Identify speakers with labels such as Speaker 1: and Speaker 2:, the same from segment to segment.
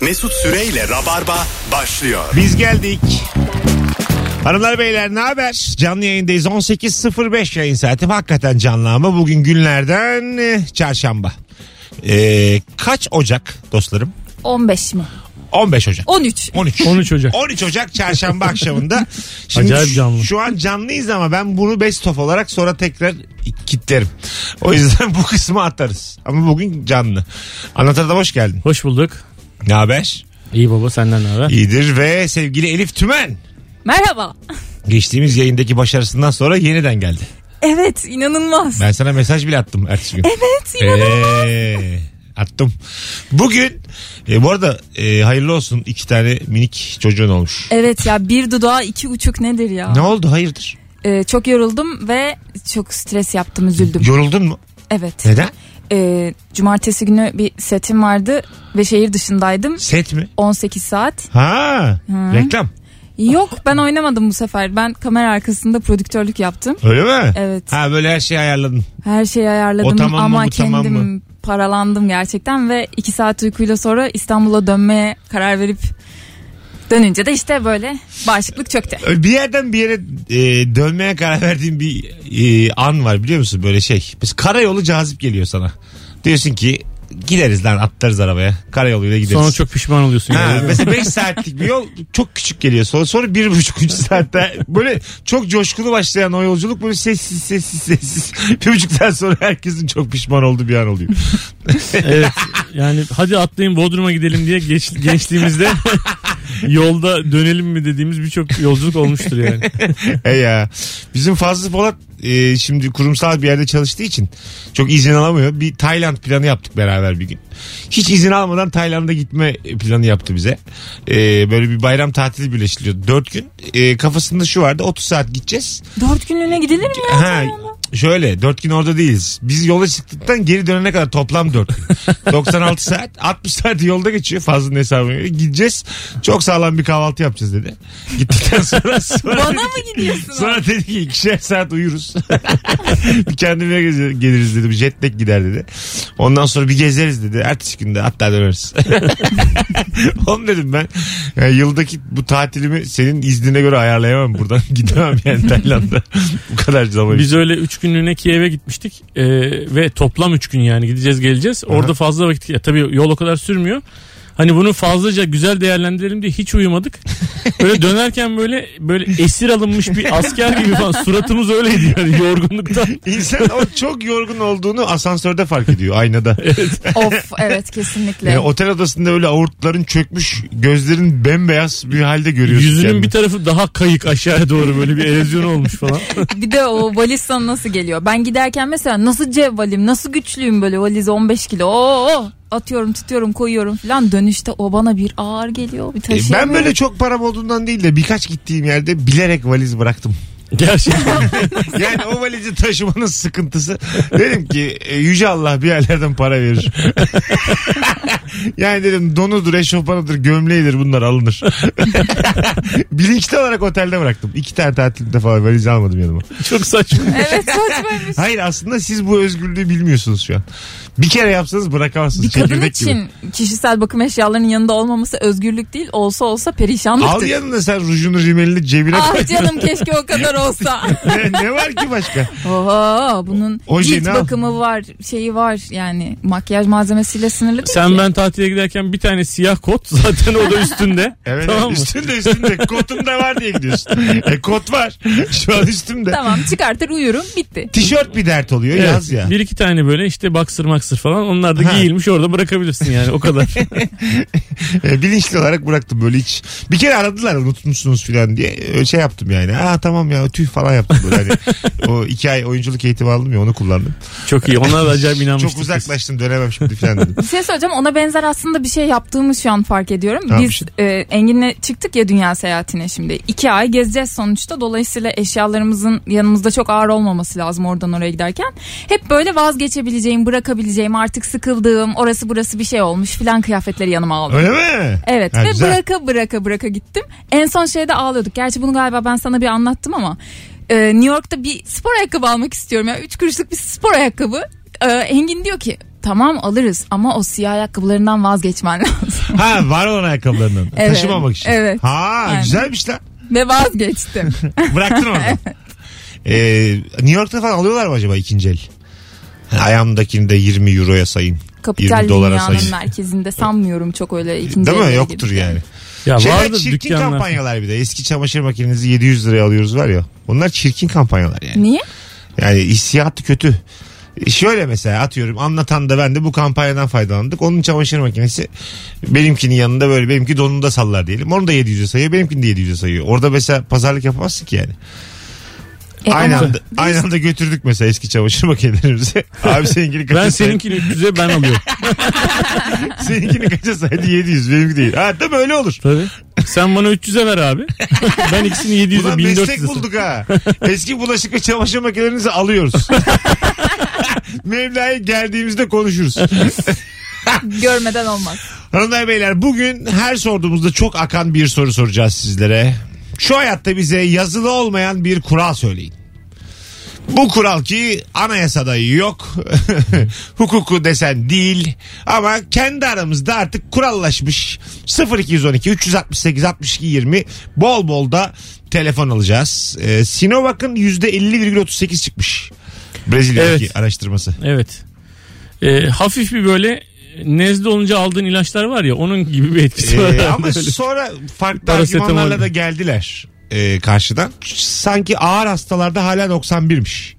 Speaker 1: Mesut Süreyle Rabarba başlıyor.
Speaker 2: Biz geldik. Hanımlar beyler ne haber? Canlı yayındayız 18.05 yayın saati hakikaten canlı ama bugün günlerden eh, çarşamba. Ee, kaç Ocak dostlarım?
Speaker 3: 15 mi?
Speaker 2: 15 Ocak.
Speaker 3: 13.
Speaker 2: 13.
Speaker 4: 13 Ocak.
Speaker 2: 13 Ocak çarşamba akşamında. Şimdi
Speaker 4: Acayip canlı.
Speaker 2: Şu an canlıyız ama ben bunu best of olarak sonra tekrar kitlerim. O yüzden bu kısmı atarız. Ama bugün canlı. Anlatan Adam hoş geldin.
Speaker 4: Hoş bulduk.
Speaker 2: Ne haber?
Speaker 4: İyi baba senden ne haber?
Speaker 2: İyidir ve sevgili Elif Tümen.
Speaker 3: Merhaba.
Speaker 2: Geçtiğimiz yayındaki başarısından sonra yeniden geldi.
Speaker 3: Evet inanılmaz.
Speaker 2: Ben sana mesaj bile attım ertesi gün.
Speaker 3: Evet inanılmaz.
Speaker 2: Ee, attım. Bugün e, bu arada e, hayırlı olsun iki tane minik çocuğun olmuş.
Speaker 3: Evet ya bir dudağa iki uçuk nedir ya?
Speaker 2: Ne oldu hayırdır?
Speaker 3: Ee, çok yoruldum ve çok stres yaptım üzüldüm.
Speaker 2: Yoruldun mu?
Speaker 3: Evet.
Speaker 2: Neden?
Speaker 3: Ee, cumartesi günü bir setim vardı ve şehir dışındaydım.
Speaker 2: Set mi?
Speaker 3: 18 saat.
Speaker 2: Ha, reklam.
Speaker 3: Yok ben oynamadım bu sefer. Ben kamera arkasında prodüktörlük yaptım.
Speaker 2: Öyle mi?
Speaker 3: Evet.
Speaker 2: Ha böyle her şeyi ayarladın.
Speaker 3: Her şeyi ayarladım
Speaker 2: O tamam mı,
Speaker 3: ama
Speaker 2: bu
Speaker 3: kendim
Speaker 2: tamam
Speaker 3: paralandım gerçekten ve iki saat uykuyla sonra İstanbul'a dönmeye karar verip dönünce de işte böyle bağışıklık çöktü.
Speaker 2: Öyle Bir yerden bir yere e, dönmeye karar verdiğin bir e, an var biliyor musun böyle şey. Biz karayolu cazip geliyor sana. Diyorsun ki gideriz lan atlarız arabaya. Karayoluyla gideriz.
Speaker 4: Sonra çok pişman oluyorsun.
Speaker 2: Ha,
Speaker 4: ya.
Speaker 2: mesela 5 saatlik bir yol çok küçük geliyor sonra. Sonra bir buçuk üç saatte böyle çok coşkulu başlayan o yolculuk böyle sessiz sessiz sessiz. Bir buçuk saat sonra herkesin çok pişman olduğu bir an oluyor.
Speaker 4: evet. Yani hadi atlayın Bodrum'a gidelim diye geç, gençliğimizde yolda dönelim mi dediğimiz birçok yolculuk olmuştur yani.
Speaker 2: e ya. Bizim Fazlı Polat e, şimdi kurumsal bir yerde çalıştığı için çok izin alamıyor. Bir Tayland planı yaptık beraber bir gün. Hiç izin almadan Tayland'a gitme planı yaptı bize. E, böyle bir bayram tatili birleştiriyor. Dört gün. E, kafasında şu vardı 30 saat gideceğiz.
Speaker 3: Dört günlüğüne gidilir mi ya?
Speaker 2: Ha, şöyle dört gün orada değiliz. Biz yola çıktıktan geri dönene kadar toplam dört gün. 96 saat 60 saat yolda geçiyor fazla hesabına göre. Gideceğiz çok sağlam bir kahvaltı yapacağız dedi. Gittikten sonra sonra,
Speaker 3: Bana
Speaker 2: dedi,
Speaker 3: mı gidiyorsun?
Speaker 2: sonra dedi ki ikişer saat uyuruz. bir kendime gez- geliriz dedi. Bir jet lag gider dedi. Ondan sonra bir gezeriz dedi. Ertesi günde hatta döneriz. Oğlum dedim ben yani yıldaki bu tatilimi senin iznine göre ayarlayamam buradan. Gidemem yani Tayland'a. bu kadar zaman.
Speaker 4: Biz öyle 3 günlüğüne Kiev'e gitmiştik Ee, ve toplam 3 gün yani gideceğiz geleceğiz. Orada
Speaker 2: Aha.
Speaker 4: fazla vakit ya, tabii yol o kadar sürmüyor. Hani bunu fazlaca güzel değerlendirelim diye hiç uyumadık. Böyle dönerken böyle böyle esir alınmış bir asker gibi falan suratımız öyleydi yani yorgunluktan.
Speaker 2: İnsan o çok yorgun olduğunu asansörde fark ediyor aynada.
Speaker 3: of evet kesinlikle.
Speaker 2: Yani otel odasında öyle avurtların çökmüş, gözlerin bembeyaz bir halde görüyorsun.
Speaker 4: Yüzünün
Speaker 2: kendini. E,
Speaker 4: bir tarafı daha kayık aşağıya doğru böyle bir erozyon olmuş falan.
Speaker 3: Bir de o valiz sana nasıl geliyor? Ben giderken mesela nasıl cevvalim, nasıl güçlüyüm böyle valiz 15 kilo. Oo, atıyorum tutuyorum koyuyorum falan. Dönüşte o bana bir ağır geliyor bir
Speaker 2: E,
Speaker 3: taşıyamıyorum.
Speaker 2: ben böyle çok param olduğundan değil de birkaç gittiğim yerde bilerek valiz bıraktım.
Speaker 4: Gerçekten.
Speaker 2: Yani o valizi taşımanın sıkıntısı. Dedim ki e, yüce Allah bir yerlerden para verir. yani dedim donudur, eşofmanıdır, gömleğidir bunlar alınır. Bilinçli olarak otelde bıraktım. İki tane tatilde falan valizi almadım yanıma.
Speaker 4: Çok saçma.
Speaker 3: Evet saçmaymış.
Speaker 2: Hayır aslında siz bu özgürlüğü bilmiyorsunuz şu an. Bir kere yapsanız bırakamazsınız.
Speaker 3: Bir kadın
Speaker 2: Çekirdek Şey, gibi.
Speaker 3: için kişisel bakım eşyalarının yanında olmaması özgürlük değil olsa olsa
Speaker 2: Al
Speaker 3: perişanlıktır.
Speaker 2: yanına sen rujunu rimelini cebine koy.
Speaker 3: ah canım keşke o kadar olsa.
Speaker 2: ne, ne var ki başka?
Speaker 3: Oha bunun
Speaker 2: Oje
Speaker 3: cilt
Speaker 2: ne yap-
Speaker 3: bakımı var şeyi var yani makyaj malzemesiyle sınırlı değil ki.
Speaker 4: Sen ben tatile giderken bir tane siyah kot zaten o da üstünde.
Speaker 2: Evet
Speaker 4: tamam mı?
Speaker 2: üstünde üstünde kotum da var diye gidiyorsun. E kot var şu an üstümde.
Speaker 3: Tamam çıkartır uyurum bitti.
Speaker 2: Tişört bir dert oluyor
Speaker 4: Evet,
Speaker 2: yaz ya.
Speaker 4: Bir iki tane böyle işte baksır maksır falan onlar da
Speaker 2: Ha.
Speaker 4: giyilmiş orada bırakabilirsin yani o kadar.
Speaker 2: E, bilinçli olarak bıraktım böyle hiç. Bir kere aradılar unutmuşsunuz falan diye. E, Şey yaptım yani. Aa tamam ya tüh falan yaptım böyle. Hani, o iki ay oyunculuk eğitimi aldım ya onu kullandım.
Speaker 4: Çok iyi onlar da acayip inanmıştık.
Speaker 2: Çok uzaklaştım dönemem şimdi falan dedim.
Speaker 3: Bir şey söyleyeceğim ona benzer aslında bir şey yaptığımı şu an fark ediyorum.
Speaker 2: Ne
Speaker 3: Biz
Speaker 2: yapmışsın?
Speaker 3: e, Engin'le çıktık ya dünya seyahatine şimdi. İki ay gezeceğiz sonuçta. Dolayısıyla eşyalarımızın yanımızda çok ağır olmaması lazım oradan oraya giderken. Hep böyle vazgeçebileceğim, bırakabileceğim, artık sıkıldığım, orası burası bir şey olmuş filan kıyafetleri yanıma aldım.
Speaker 2: Öyle mi?
Speaker 3: Evet
Speaker 2: Ha,
Speaker 3: ve
Speaker 2: güzel.
Speaker 3: bıraka bıraka bıraka gittim. En son şeyde ağlıyorduk. Gerçi bunu galiba ben sana bir anlattım ama. e, New York'ta bir spor ayakkabı almak istiyorum ya. Üç kuruşluk bir spor ayakkabı. E, Engin diyor ki Tamam alırız ama o siyah ayakkabılarından vazgeçmen lazım.
Speaker 2: Ha var olan ayakkabılarından.
Speaker 3: Evet.
Speaker 2: Taşımamak için.
Speaker 3: Evet.
Speaker 2: Ha
Speaker 3: Aynen.
Speaker 2: güzelmiş lan.
Speaker 3: Ve vazgeçtim.
Speaker 2: Bıraktın orada. Ee, New York'ta falan alıyorlar mı acaba ikinci el? Ha, Ayağımdakini de 20 euroya sayın.
Speaker 3: Kapital
Speaker 2: 20 dolara
Speaker 3: dünyanın
Speaker 2: sayın.
Speaker 3: merkezinde sanmıyorum çok öyle ikinci
Speaker 2: Değil mi?
Speaker 3: ellere
Speaker 2: Yoktur
Speaker 3: girdi.
Speaker 2: yani.
Speaker 4: Ya
Speaker 2: Şeyler
Speaker 4: vardı
Speaker 2: çirkin
Speaker 4: dükkanlar.
Speaker 2: kampanyalar bir de. Eski çamaşır makinenizi 700 liraya alıyoruz var ya. Onlar çirkin kampanyalar yani.
Speaker 3: Niye?
Speaker 2: Yani hissiyatı kötü. E, Şöyle mesela atıyorum anlatan da ben de bu kampanyadan faydalandık. Onun çamaşır makinesi benimkinin yanında böyle benimki donunda sallar diyelim. Onu da 700'e sayıyor benimkini de 700'e sayıyor. Orada mesela pazarlık yapamazsın ki yani.
Speaker 3: E,
Speaker 2: aynı,
Speaker 3: ama-
Speaker 2: anda, aynı anda götürdük mesela eski çamaşır makinelerimizi. Abi seninkini kaça
Speaker 4: Ben
Speaker 2: saydı?
Speaker 4: seninkini 300'e ben alıyorum.
Speaker 2: Seninkini kaça saydı 700 benimki değil. Ha değil mi öyle olur.
Speaker 4: Tabii. Sen bana 300'e ver abi. Ben ikisini 700'e
Speaker 2: Ulan meslek
Speaker 4: 1400'e.
Speaker 2: bulduk ha. Eski bulaşık ve çamaşır makinelerinizi alıyoruz. Mevla'ya geldiğimizde konuşuruz.
Speaker 3: Görmeden olmaz.
Speaker 2: Hanımlar beyler bugün her sorduğumuzda çok akan bir soru soracağız sizlere. Şu hayatta bize yazılı olmayan bir kural söyleyin. Bu kural ki anayasada yok. Hukuku desen değil. Ama kendi aramızda artık kurallaşmış. 0212 368 62 20 bol bol da telefon alacağız. Ee, Sinovac'ın %50,38 çıkmış. Brezilya'daki
Speaker 4: Evet.
Speaker 2: araştırması.
Speaker 4: Evet. Ee, hafif bir böyle nezle olunca aldığın ilaçlar var ya onun gibi bir etkisi var.
Speaker 2: Ee, ama
Speaker 4: Öyle.
Speaker 2: sonra farklı
Speaker 4: Parasetamol.
Speaker 2: argümanlarla da geldiler e, karşıdan. Sanki ağır hastalarda hala 91'miş.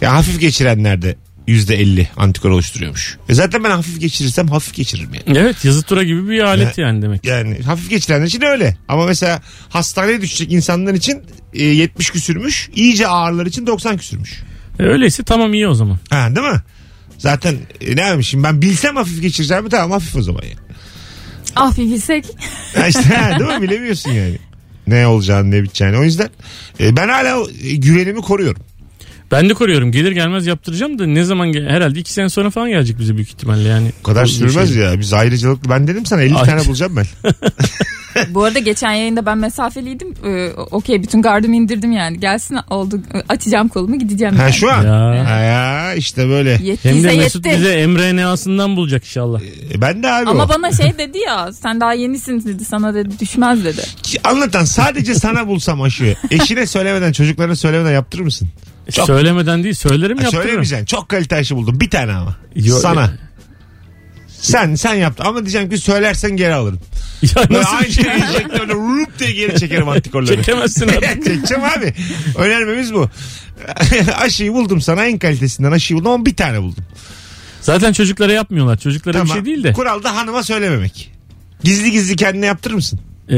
Speaker 2: Ya hafif geçirenlerde %50 antikor oluşturuyormuş. E zaten ben hafif geçirirsem hafif geçiririm yani.
Speaker 4: Evet yazı tura gibi bir alet yani demek.
Speaker 2: Yani hafif geçirenler için öyle. Ama mesela hastaneye düşecek insanlar için e, 70 küsürmüş. iyice ağırlar için 90 küsürmüş.
Speaker 4: E, Öyleyse tamam iyi o zaman.
Speaker 2: Ha değil mi? Zaten e, ne yapmışım ben bilsem hafif geçireceğimi tamam hafif o zaman yani.
Speaker 3: Ah bir bilsek.
Speaker 2: Ha işte ha, değil mi? Bilemiyorsun yani. Ne olacağını ne biteceğini. O yüzden e, ben hala o, e, güvenimi koruyorum.
Speaker 4: Ben de koruyorum. Gelir gelmez yaptıracağım da ne zaman gel- herhalde 2 sene sonra falan gelecek bize büyük ihtimalle yani.
Speaker 2: O kadar
Speaker 4: Bu
Speaker 2: sürmez
Speaker 4: şey-
Speaker 2: ya. Biz ayrıcalıklı. Ben dedim sana 50
Speaker 4: Ay.
Speaker 2: tane bulacağım ben.
Speaker 3: Bu arada geçen yayında ben mesafeliydim. Ee, okey bütün gardımı indirdim yani. Gelsin oldu açacağım kolumu gideceğim.
Speaker 2: Ha
Speaker 3: yani.
Speaker 2: şu an.
Speaker 4: Ya.
Speaker 2: Ha ya işte böyle.
Speaker 4: Hem
Speaker 3: Yettiyse
Speaker 4: de Mesut
Speaker 3: yetti.
Speaker 4: bize mRNA'sından bulacak inşallah.
Speaker 2: E, ben de abi o.
Speaker 3: Ama bana şey dedi ya sen daha yenisin dedi sana dedi düşmez dedi.
Speaker 2: Ki Anlatan sadece sana bulsam aşıyı. Eşine söylemeden çocuklarına söylemeden yaptırır mısın? Çok-
Speaker 4: E, Söylemeden değil söylerim
Speaker 2: Ha,
Speaker 4: yaptırırım.
Speaker 2: söylemeyeceksin. Çok kalite aşı buldum. Bir tane ama.
Speaker 4: Yo- e-
Speaker 2: sana. Sen sen yaptın ama diyeceğim ki söylersen geri alırım.
Speaker 4: Ya
Speaker 2: Böyle
Speaker 4: nasıl
Speaker 2: aynı şey enjektörle rup diye geri çekerim antikorları.
Speaker 4: çekemezsin abi.
Speaker 2: Çekeceğim abi. Önermemiz bu. aşıyı buldum sana en kalitesinden aşıyı buldum ama bir tane buldum.
Speaker 4: Zaten çocuklara yapmıyorlar. Çocuklara bir şey değil de.
Speaker 2: Kural da hanıma söylememek. Gizli gizli kendine yaptırır mısın?
Speaker 4: Ee,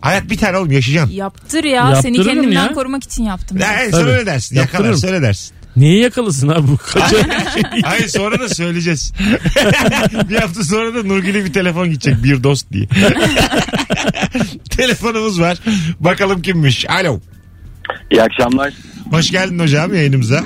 Speaker 2: Hayat bir tane oğlum yaşayacaksın.
Speaker 3: Yaptır ya seni
Speaker 4: Yaptırırım
Speaker 3: kendimden
Speaker 4: ya.
Speaker 3: korumak için yaptım. dedi.
Speaker 2: Hayır
Speaker 4: Tabii.
Speaker 2: sonra ne dersin? Yakalar
Speaker 4: Yaptırırım.
Speaker 2: söyle dersin.
Speaker 4: niye yakalasın abi bu kaça?
Speaker 2: Hayır sonra da söyleyeceğiz. bir hafta sonra da Nurgül'e bir telefon gidecek bir dost diye. Telefonumuz var. Bakalım kimmiş. Alo.
Speaker 5: İyi akşamlar.
Speaker 2: Hoş geldin hocam yayınımıza.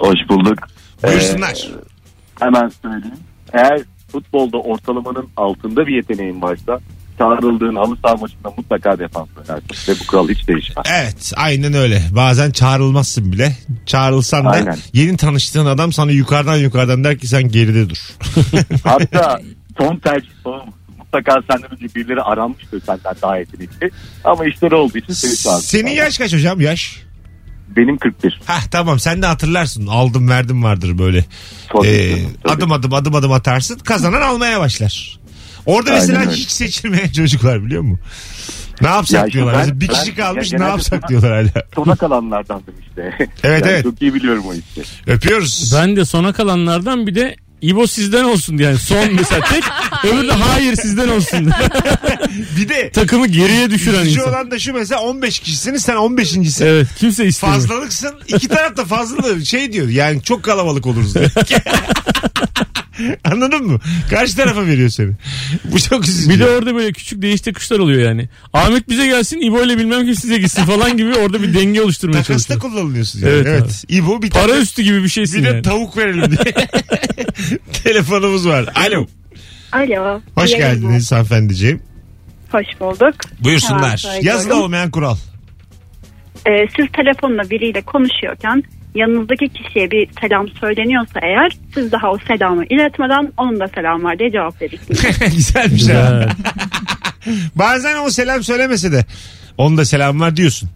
Speaker 5: Hoş bulduk.
Speaker 2: Buyursunlar.
Speaker 5: Ee, hemen söyleyeyim. Eğer futbolda ortalamanın altında bir yeteneğin varsa çağrıldığın halı saha maçında mutlaka defans oynarsın. Ve bu kural hiç değişmez.
Speaker 2: Evet aynen öyle. Bazen çağrılmazsın bile. Çağrılsan da
Speaker 5: Aynen.
Speaker 2: yeni tanıştığın adam sana yukarıdan yukarıdan der ki sen geride dur.
Speaker 5: Hatta son tercih son mutlaka senden önce birileri aranmıştır senden daha yetenekli. Ama işleri olduğu için seni çağırdı.
Speaker 2: Senin yaş kaç hocam yaş?
Speaker 5: Benim 41.
Speaker 2: Hah tamam sen de hatırlarsın. Aldım verdim vardır böyle.
Speaker 5: Tabii,
Speaker 2: Ee,
Speaker 5: tabii.
Speaker 2: adım adım adım adım atarsın. Kazanan almaya başlar. Orada mesela
Speaker 5: Aynen öyle.
Speaker 2: hiç seçilmeyen çocuklar biliyor musun? Ne yapsak
Speaker 5: Ya işte
Speaker 2: diyorlar.
Speaker 5: ben-
Speaker 2: Mesela bir
Speaker 5: ben-
Speaker 2: kişi kalmış
Speaker 5: ya
Speaker 2: ne
Speaker 5: genelde
Speaker 2: yapsak
Speaker 5: sana-
Speaker 2: diyorlar hala.
Speaker 5: Sona kalanlardandım işte.
Speaker 2: Evet, evet.
Speaker 5: Çok iyi biliyorum o işi.
Speaker 2: Öpüyoruz.
Speaker 4: ben de sona kalanlardan bir de İbo sizden olsun diye. Yani son mesela tek öbürü de hayır sizden olsun.
Speaker 2: Bir de
Speaker 4: Takımı geriye düşüren
Speaker 2: şu
Speaker 4: insan.
Speaker 2: olan da şu mesela 15 kişisiniz sen 15.sin.
Speaker 4: Evet kimse istemiyor.
Speaker 2: Fazlalıksın. İki taraf da fazlalığı şey diyor. Yani çok kalabalık oluruz diyor. Anladın mı? Karşı tarafa veriyor seni. Bu çok üzücü.
Speaker 4: Bir de orada böyle küçük değiş tokuşlar oluyor yani. Ahmet bize gelsin İbo ile bilmem kim size gitsin falan gibi orada bir denge oluşturmaya
Speaker 2: Takasta
Speaker 4: çalışıyor.
Speaker 2: kullanılıyorsun yani. Evet.
Speaker 4: Evet
Speaker 2: İbo bir
Speaker 4: Para
Speaker 2: tane-
Speaker 4: üstü gibi bir şeysin
Speaker 2: bir de
Speaker 4: yani.
Speaker 2: tavuk verelim diye. Telefonumuz var. Alo.
Speaker 6: Alo.
Speaker 2: Hoş
Speaker 6: İyi yayınlar.
Speaker 2: geldiniz hanımefendiciğim.
Speaker 6: Hoş bulduk.
Speaker 2: Buyursunlar.
Speaker 6: Tamam, saygı
Speaker 2: Yazılı
Speaker 6: duyuyorum.
Speaker 2: olmayan kural.
Speaker 6: Ee, siz telefonla biriyle konuşuyorken yanınızdaki kişiye bir selam söyleniyorsa eğer siz daha o selamı iletmeden onun da selam var diye cevap verirsiniz.
Speaker 2: Güzelmiş ha.
Speaker 4: Güzel.
Speaker 2: Bazen o selam söylemese de onun da selam var diyorsun.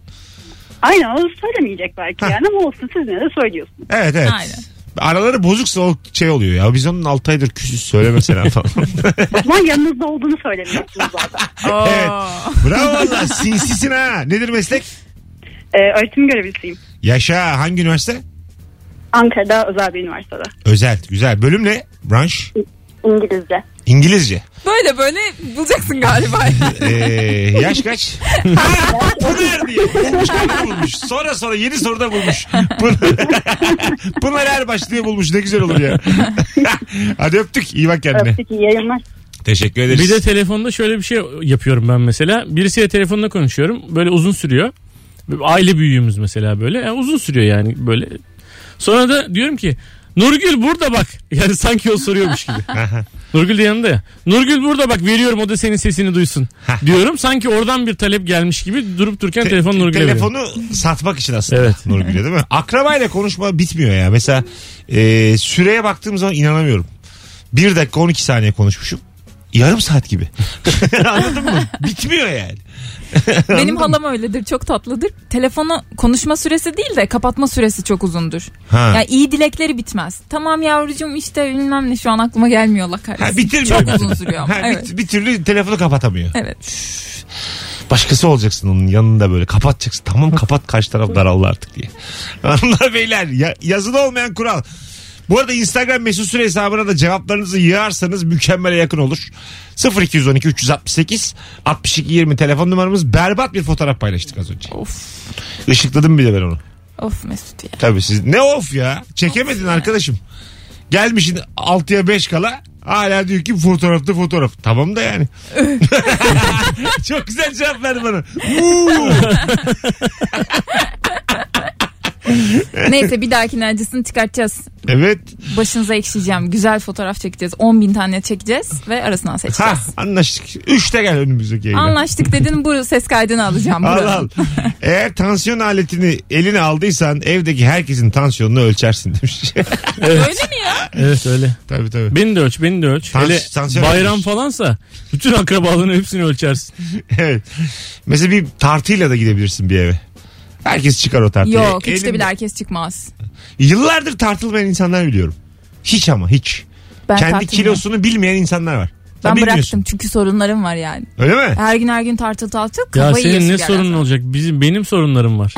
Speaker 6: Aynen o söylemeyecek belki yani ama olsun siz ne de söylüyorsunuz.
Speaker 2: Evet evet.
Speaker 3: Aynen.
Speaker 2: Araları bozuksa o şey oluyor ya. Biz onun 6 aydır küsüz söyleme selam falan.
Speaker 6: O zaman yanınızda olduğunu söylemiyorsunuz zaten.
Speaker 2: evet. Bravo valla sinsisin ha. Nedir meslek?
Speaker 6: Ee, öğretim görevlisiyim.
Speaker 2: Yaşa hangi üniversite?
Speaker 6: Ankara'da özel bir üniversitede.
Speaker 2: Özel güzel. Bölüm ne? Branş?
Speaker 6: İngilizce.
Speaker 2: İngilizce.
Speaker 3: Böyle böyle bulacaksın galiba.
Speaker 2: Ee, yaş kaç? Pınar diye. Bulmuş kadını bulmuş. Sonra sonra yeni soruda bulmuş. Pınar, Pınar Erbaş diye bulmuş. Ne güzel olur ya. Hadi öptük. İyi bak kendine.
Speaker 6: Öptük iyi yayınlar.
Speaker 2: Teşekkür ederiz.
Speaker 4: Bir de telefonda şöyle bir şey yapıyorum ben mesela. Birisiyle telefonda konuşuyorum. Böyle uzun sürüyor. Aile büyüğümüz mesela böyle. Yani uzun sürüyor yani böyle. Sonra da diyorum ki Nurgül burada bak. Yani sanki o soruyormuş gibi. Nurgül de yanında ya. Nurgül burada bak veriyorum o da senin sesini duysun. diyorum sanki oradan bir talep gelmiş gibi durup dururken
Speaker 2: Te-
Speaker 4: telefon Nurgül'e veriyorum.
Speaker 2: telefonu satmak için aslında
Speaker 4: Evet.
Speaker 2: Nurgül'e değil mi? Akrabayla konuşma bitmiyor ya. Mesela e, süreye baktığım zaman inanamıyorum. 1 dakika 12 saniye konuşmuşum. Yarım saat gibi. Anladın mı? Bitmiyor yani.
Speaker 3: Benim halam öyledir. Çok tatlıdır. Telefonu konuşma süresi değil de kapatma süresi çok uzundur.
Speaker 2: Ha.
Speaker 3: Ya iyi dilekleri bitmez. Tamam yavrucuğum işte bilmem ne şu an aklıma gelmiyor Allah kahretsin.
Speaker 2: Ha, bitirmiyor.
Speaker 3: Çok uzun sürüyor ama.
Speaker 2: Ha, bir-
Speaker 3: evet.
Speaker 2: bir, türlü telefonu kapatamıyor.
Speaker 3: Evet.
Speaker 2: Başkası olacaksın onun yanında böyle kapatacaksın. Tamam kapat karşı taraf daraldı artık diye. Hanımlar beyler ya, yazılı olmayan kural. Bu arada Instagram mesut süre hesabına da cevaplarınızı yığarsanız mükemmele yakın olur. 0212 368 62 20 telefon numaramız berbat bir fotoğraf paylaştık az önce.
Speaker 3: Of.
Speaker 2: Işıkladım bile ben onu.
Speaker 3: Of Mesut ya.
Speaker 2: Tabii siz ne of ya çekemedin arkadaşım. Gelmişin 6'ya 5 kala hala diyor ki fotoğrafta fotoğraf. Tamam da yani. Çok güzel cevap verdi bana. Uuu.
Speaker 3: Neyse bir dahakine acısını çıkartacağız.
Speaker 2: Evet.
Speaker 3: Başınıza ekşiyeceğim. Güzel fotoğraf çekeceğiz. 10 bin tane çekeceğiz ve arasından
Speaker 2: Ha
Speaker 3: seçeceğiz.
Speaker 2: anlaştık. Üçte gel önümüzdeki yayına.
Speaker 3: Anlaştık dedin bu ses kaydını alacağım.
Speaker 2: Al
Speaker 3: buranın.
Speaker 2: al. Eğer tansiyon aletini eline aldıysan evdeki herkesin tansiyonunu ölçersin demiş.
Speaker 3: Öyle mi ya?
Speaker 4: Evet öyle.
Speaker 2: tabii tabii.
Speaker 4: Beni de ölç, beni de ölç.
Speaker 2: Tans-
Speaker 4: Hele
Speaker 2: tansiyon
Speaker 4: bayram
Speaker 2: ölçmüş.
Speaker 4: falansa bütün akrabalarının hepsini ölçersin.
Speaker 2: Evet. Mesela bir tartıyla da gidebilirsin bir eve. Herkes çıkar o tartıyı.
Speaker 3: Yok hiç de
Speaker 2: Elinde-
Speaker 3: bile herkes çıkmaz.
Speaker 2: Yıllardır tartılmayan insanlar biliyorum. Hiç ama hiç.
Speaker 3: Ben
Speaker 2: Kendi
Speaker 3: tartılmam.
Speaker 2: kilosunu bilmeyen insanlar var. Sen
Speaker 3: Ben
Speaker 2: bilmiyorsun.
Speaker 3: bıraktım çünkü sorunlarım var yani.
Speaker 2: Öyle mi?
Speaker 3: Her gün her gün tartıl tartıl
Speaker 4: Ya
Speaker 3: kafayı
Speaker 4: senin
Speaker 3: yiyorsun
Speaker 4: ne
Speaker 3: gerçekten.
Speaker 4: sorunun olacak? Bizim benim sorunlarım var.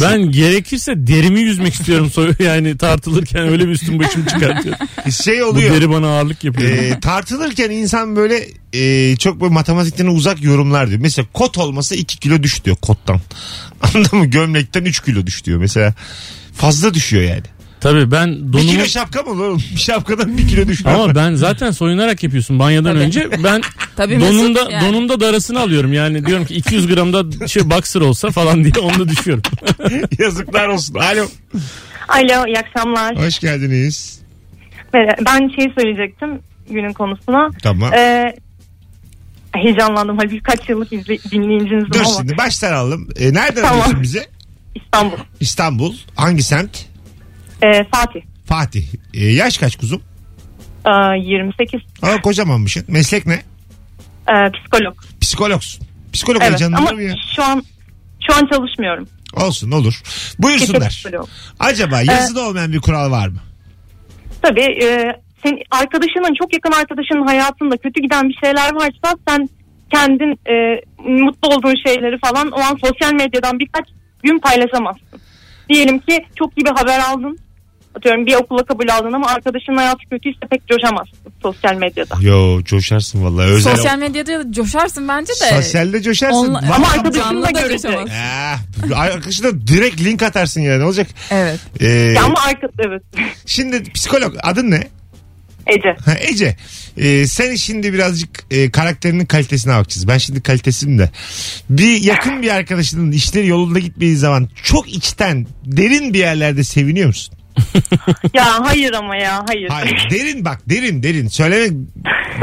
Speaker 4: ben gerekirse derimi yüzmek istiyorum soy yani tartılırken öyle bir üstüm başım çıkartıyor.
Speaker 2: Şey
Speaker 4: Bu
Speaker 2: oluyor.
Speaker 4: deri bana ağırlık yapıyor.
Speaker 2: e, tartılırken insan böyle e, çok böyle matematikten uzak yorumlar diyor. Mesela kot olması 2 kilo düş diyor kottan. Anladın mı? Gömlekten 3 kilo düş diyor mesela. Fazla düşüyor yani.
Speaker 4: Tabii ben
Speaker 2: 1
Speaker 4: donumu
Speaker 2: kilo şapka mı olur oğlum? Şapkadan 1 kilo düşmüyor.
Speaker 4: ama ben zaten soyunarak yapıyorsun banyadan
Speaker 3: Tabii.
Speaker 4: önce. Ben
Speaker 3: Tabii Mesut
Speaker 4: donumda
Speaker 3: yani.
Speaker 4: donumda darasını alıyorum. Yani diyorum ki 200 gramda şey boxer olsa falan diye onda düşüyorum.
Speaker 2: Yazıklar olsun. Alo.
Speaker 7: Alo iyi akşamlar.
Speaker 2: Hoş geldiniz.
Speaker 7: Ee, Ben şey söyleyecektim günün konusuna.
Speaker 2: Tamam.
Speaker 7: Ee, heyecanlandım. Hani birkaç yıllık izle, dinleyicinizim
Speaker 2: Dur
Speaker 7: ama
Speaker 2: şimdi baştan alalım. E, nereden
Speaker 7: Tamam.
Speaker 2: arıyorsun bize?
Speaker 7: İstanbul.
Speaker 2: İstanbul. Hangi semt?
Speaker 7: Ee, Fatih.
Speaker 2: Fatih. E, yaş kaç kuzum?
Speaker 7: Ee, 28.
Speaker 2: Ama kocamanmışsın. Meslek ne?
Speaker 7: Ee, psikolog.
Speaker 2: Psikologsun. Psikolog
Speaker 7: Evet
Speaker 2: heyecanlı
Speaker 7: ama
Speaker 2: mı ya?
Speaker 7: şu an şu an çalışmıyorum.
Speaker 2: Olsun olur.
Speaker 7: Kesin
Speaker 2: Buyursunlar.
Speaker 7: psikolog.
Speaker 2: Acaba yazıda olmayan bir kural var mı?
Speaker 7: Tabii e, senin arkadaşının çok yakın arkadaşının hayatında kötü giden bir şeyler varsa sen kendin e, mutlu olduğun şeyleri falan o an sosyal medyadan birkaç gün paylaşamazsın. Diyelim ki çok iyi bir haber aldın. Atıyorum bir okula kabul aldın ama arkadaşının hayatı kötüyse pek coşamazsın sosyal medyada.
Speaker 2: Yo coşarsın vallahi. Özel
Speaker 3: Sosyal medyada coşarsın bence de.
Speaker 2: Sosyalde coşarsın.
Speaker 3: Onla-
Speaker 2: Va-
Speaker 7: Ama
Speaker 3: Canlı
Speaker 7: arkadaşını
Speaker 3: da
Speaker 7: da görecek.
Speaker 3: görüşemez.
Speaker 2: Eh, arkadaşına direkt link atarsın yani ne olacak?
Speaker 3: Evet.
Speaker 2: Ee,
Speaker 7: Ya ama arka, evet.
Speaker 2: Şimdi psikolog adın ne?
Speaker 7: Ece.
Speaker 2: Ha, Ece e, sen şimdi birazcık e, karakterinin kalitesine bakacağız. Ben şimdi kalitesim de. Bir yakın bir arkadaşının işleri yolunda gitmediği zaman çok içten derin bir yerlerde seviniyor musun?
Speaker 7: ya hayır ama ya hayır.
Speaker 2: Hayır derin bak derin derin. Söyleme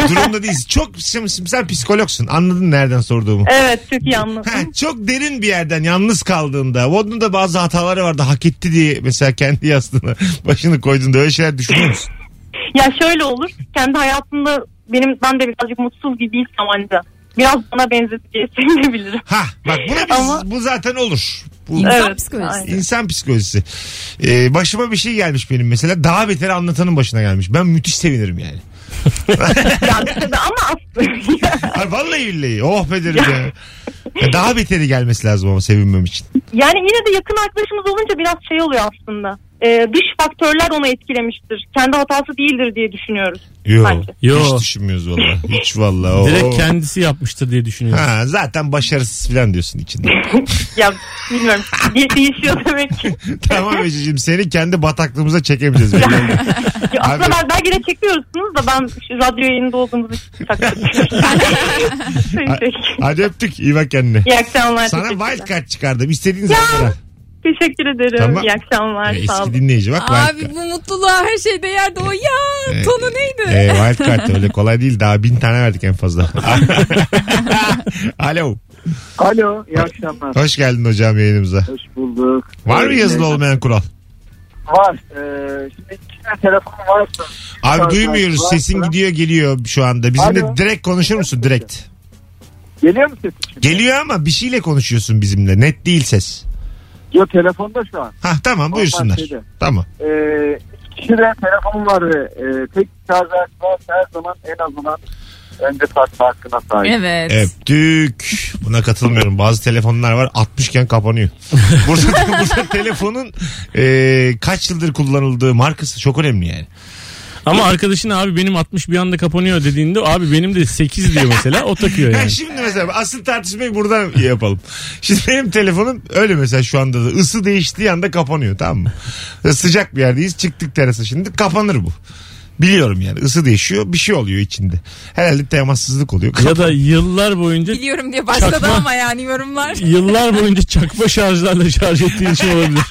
Speaker 2: durumda değiliz. Çok şimdi sen psikologsun. Anladın nereden sorduğumu.
Speaker 7: Evet çok iyi anladım.
Speaker 2: Ha, çok derin bir yerden yalnız kaldığında onun da bazı hataları vardı hak etti diye mesela kendi yastığına başını koyduğunda öyle şeyler düşünüyor musun?
Speaker 7: Ya şöyle olur. Kendi hayatımda benim ben de birazcık mutsuz gibiysem anca. Biraz bana benzeteceği sevinebilirim.
Speaker 2: Ha bak buna biz,
Speaker 7: Ama-
Speaker 2: bu zaten olur. Bu
Speaker 3: İnsan
Speaker 7: Evet,
Speaker 3: psikolojisi.
Speaker 7: aynen.
Speaker 2: insan psikolojisi. Ee, başıma bir şey gelmiş benim mesela daha beteri anlatanın başına gelmiş. Ben müthiş sevinirim yani.
Speaker 7: Tabii ama aslında
Speaker 2: Ay, vallahi billahi oh be derim ya. Ya Daha beteri gelmesi lazım ama sevinmem için.
Speaker 7: yani yine de yakın arkadaşımız olunca biraz şey oluyor aslında. Ee, dış faktörler onu etkilemiştir. Kendi hatası değildir diye düşünüyoruz.
Speaker 2: Yok.
Speaker 7: Bence.
Speaker 4: Yo.
Speaker 2: Hiç düşünmüyoruz valla. Hiç valla. Oo.
Speaker 4: Direkt kendisi yapmıştır diye düşünüyorum.
Speaker 2: Ha, zaten başarısız falan diyorsun içinde.
Speaker 7: Ya bilmiyorum. De- değişiyor demek ki.
Speaker 2: tamam Ece'cim seni kendi bataklığımıza çekemeyeceğiz.
Speaker 7: Ya aslında
Speaker 2: Abi-
Speaker 7: ben, belki de çekiyorsunuz da ben şu radyo yayında olduğumuz için takılıyorum. Peki.
Speaker 2: Hadi öptük. İyi bak kendine.
Speaker 7: İyi akşamlar.
Speaker 2: Sana
Speaker 7: teşekkürler.
Speaker 2: wild card çıkardım. İstediğin
Speaker 7: Ya,
Speaker 2: zaman. ara.
Speaker 7: Teşekkür ederim.
Speaker 2: Tamam.
Speaker 7: İyi akşamlar.
Speaker 2: Ya,
Speaker 7: Sağ
Speaker 2: Eski
Speaker 7: olun.
Speaker 2: dinleyici bak wild
Speaker 3: Abi
Speaker 2: card.
Speaker 3: bu mutluluğa her şey değerdi o ya.
Speaker 2: Ee,
Speaker 3: tonu neydi?
Speaker 2: Ee, wild card da öyle kolay değil. Daha bin tane verdik en fazla. Alo.
Speaker 5: Alo iyi akşamlar.
Speaker 2: Hoş geldin hocam yayınımıza.
Speaker 5: Hoş bulduk.
Speaker 2: Var mı yazılı olmayan kural?
Speaker 5: Var. Ee, şimdi iki tane telefonum varsa.
Speaker 2: Abi
Speaker 5: Var,
Speaker 2: duymuyoruz.
Speaker 5: var,
Speaker 2: Sesin
Speaker 5: var.
Speaker 2: gidiyor geliyor şu anda. Bizimle
Speaker 5: Alo.
Speaker 2: direkt konuşur musun? Direkt.
Speaker 5: Geliyor mu sesim şimdi?
Speaker 2: Geliyor ama bir şeyle konuşuyorsun bizimle. Net değil ses.
Speaker 5: Yo telefonda şu an.
Speaker 2: Hah tamam
Speaker 5: Normal
Speaker 2: buyursunlar.
Speaker 5: şeyde.
Speaker 2: Tamam.
Speaker 5: Ee, iki kişi de telefonum var ve e, tek şarj aleti var. her zaman en azından önce tartma hakkına sahip.
Speaker 3: Evet.
Speaker 2: Öptük. Buna katılmıyorum. Bazı telefonlar var 60'ken kapanıyor. Burada, burada telefonun e, kaç yıldır kullanıldığı markası çok önemli yani.
Speaker 4: Ama arkadaşın abi benim 60 bir anda kapanıyor dediğinde abi benim de 8 diyor mesela o takıyor
Speaker 2: Ha,
Speaker 4: yani.
Speaker 2: şimdi mesela asıl tartışmayı buradan yapalım. Şimdi benim telefonum öyle mesela şu anda da ısı değiştiği anda kapanıyor tamam mı? Sıcak bir yerdeyiz çıktık terasa şimdi kapanır bu. Biliyorum yani ısı değişiyor bir şey oluyor içinde. Herhalde temassızlık oluyor.
Speaker 4: Ya da yıllar boyunca
Speaker 3: Biliyorum diye başladı
Speaker 4: Çakma.
Speaker 3: ama yani yorumlar.
Speaker 4: yıllar boyunca çakma şarjlarla şarj ettiği için olabilir.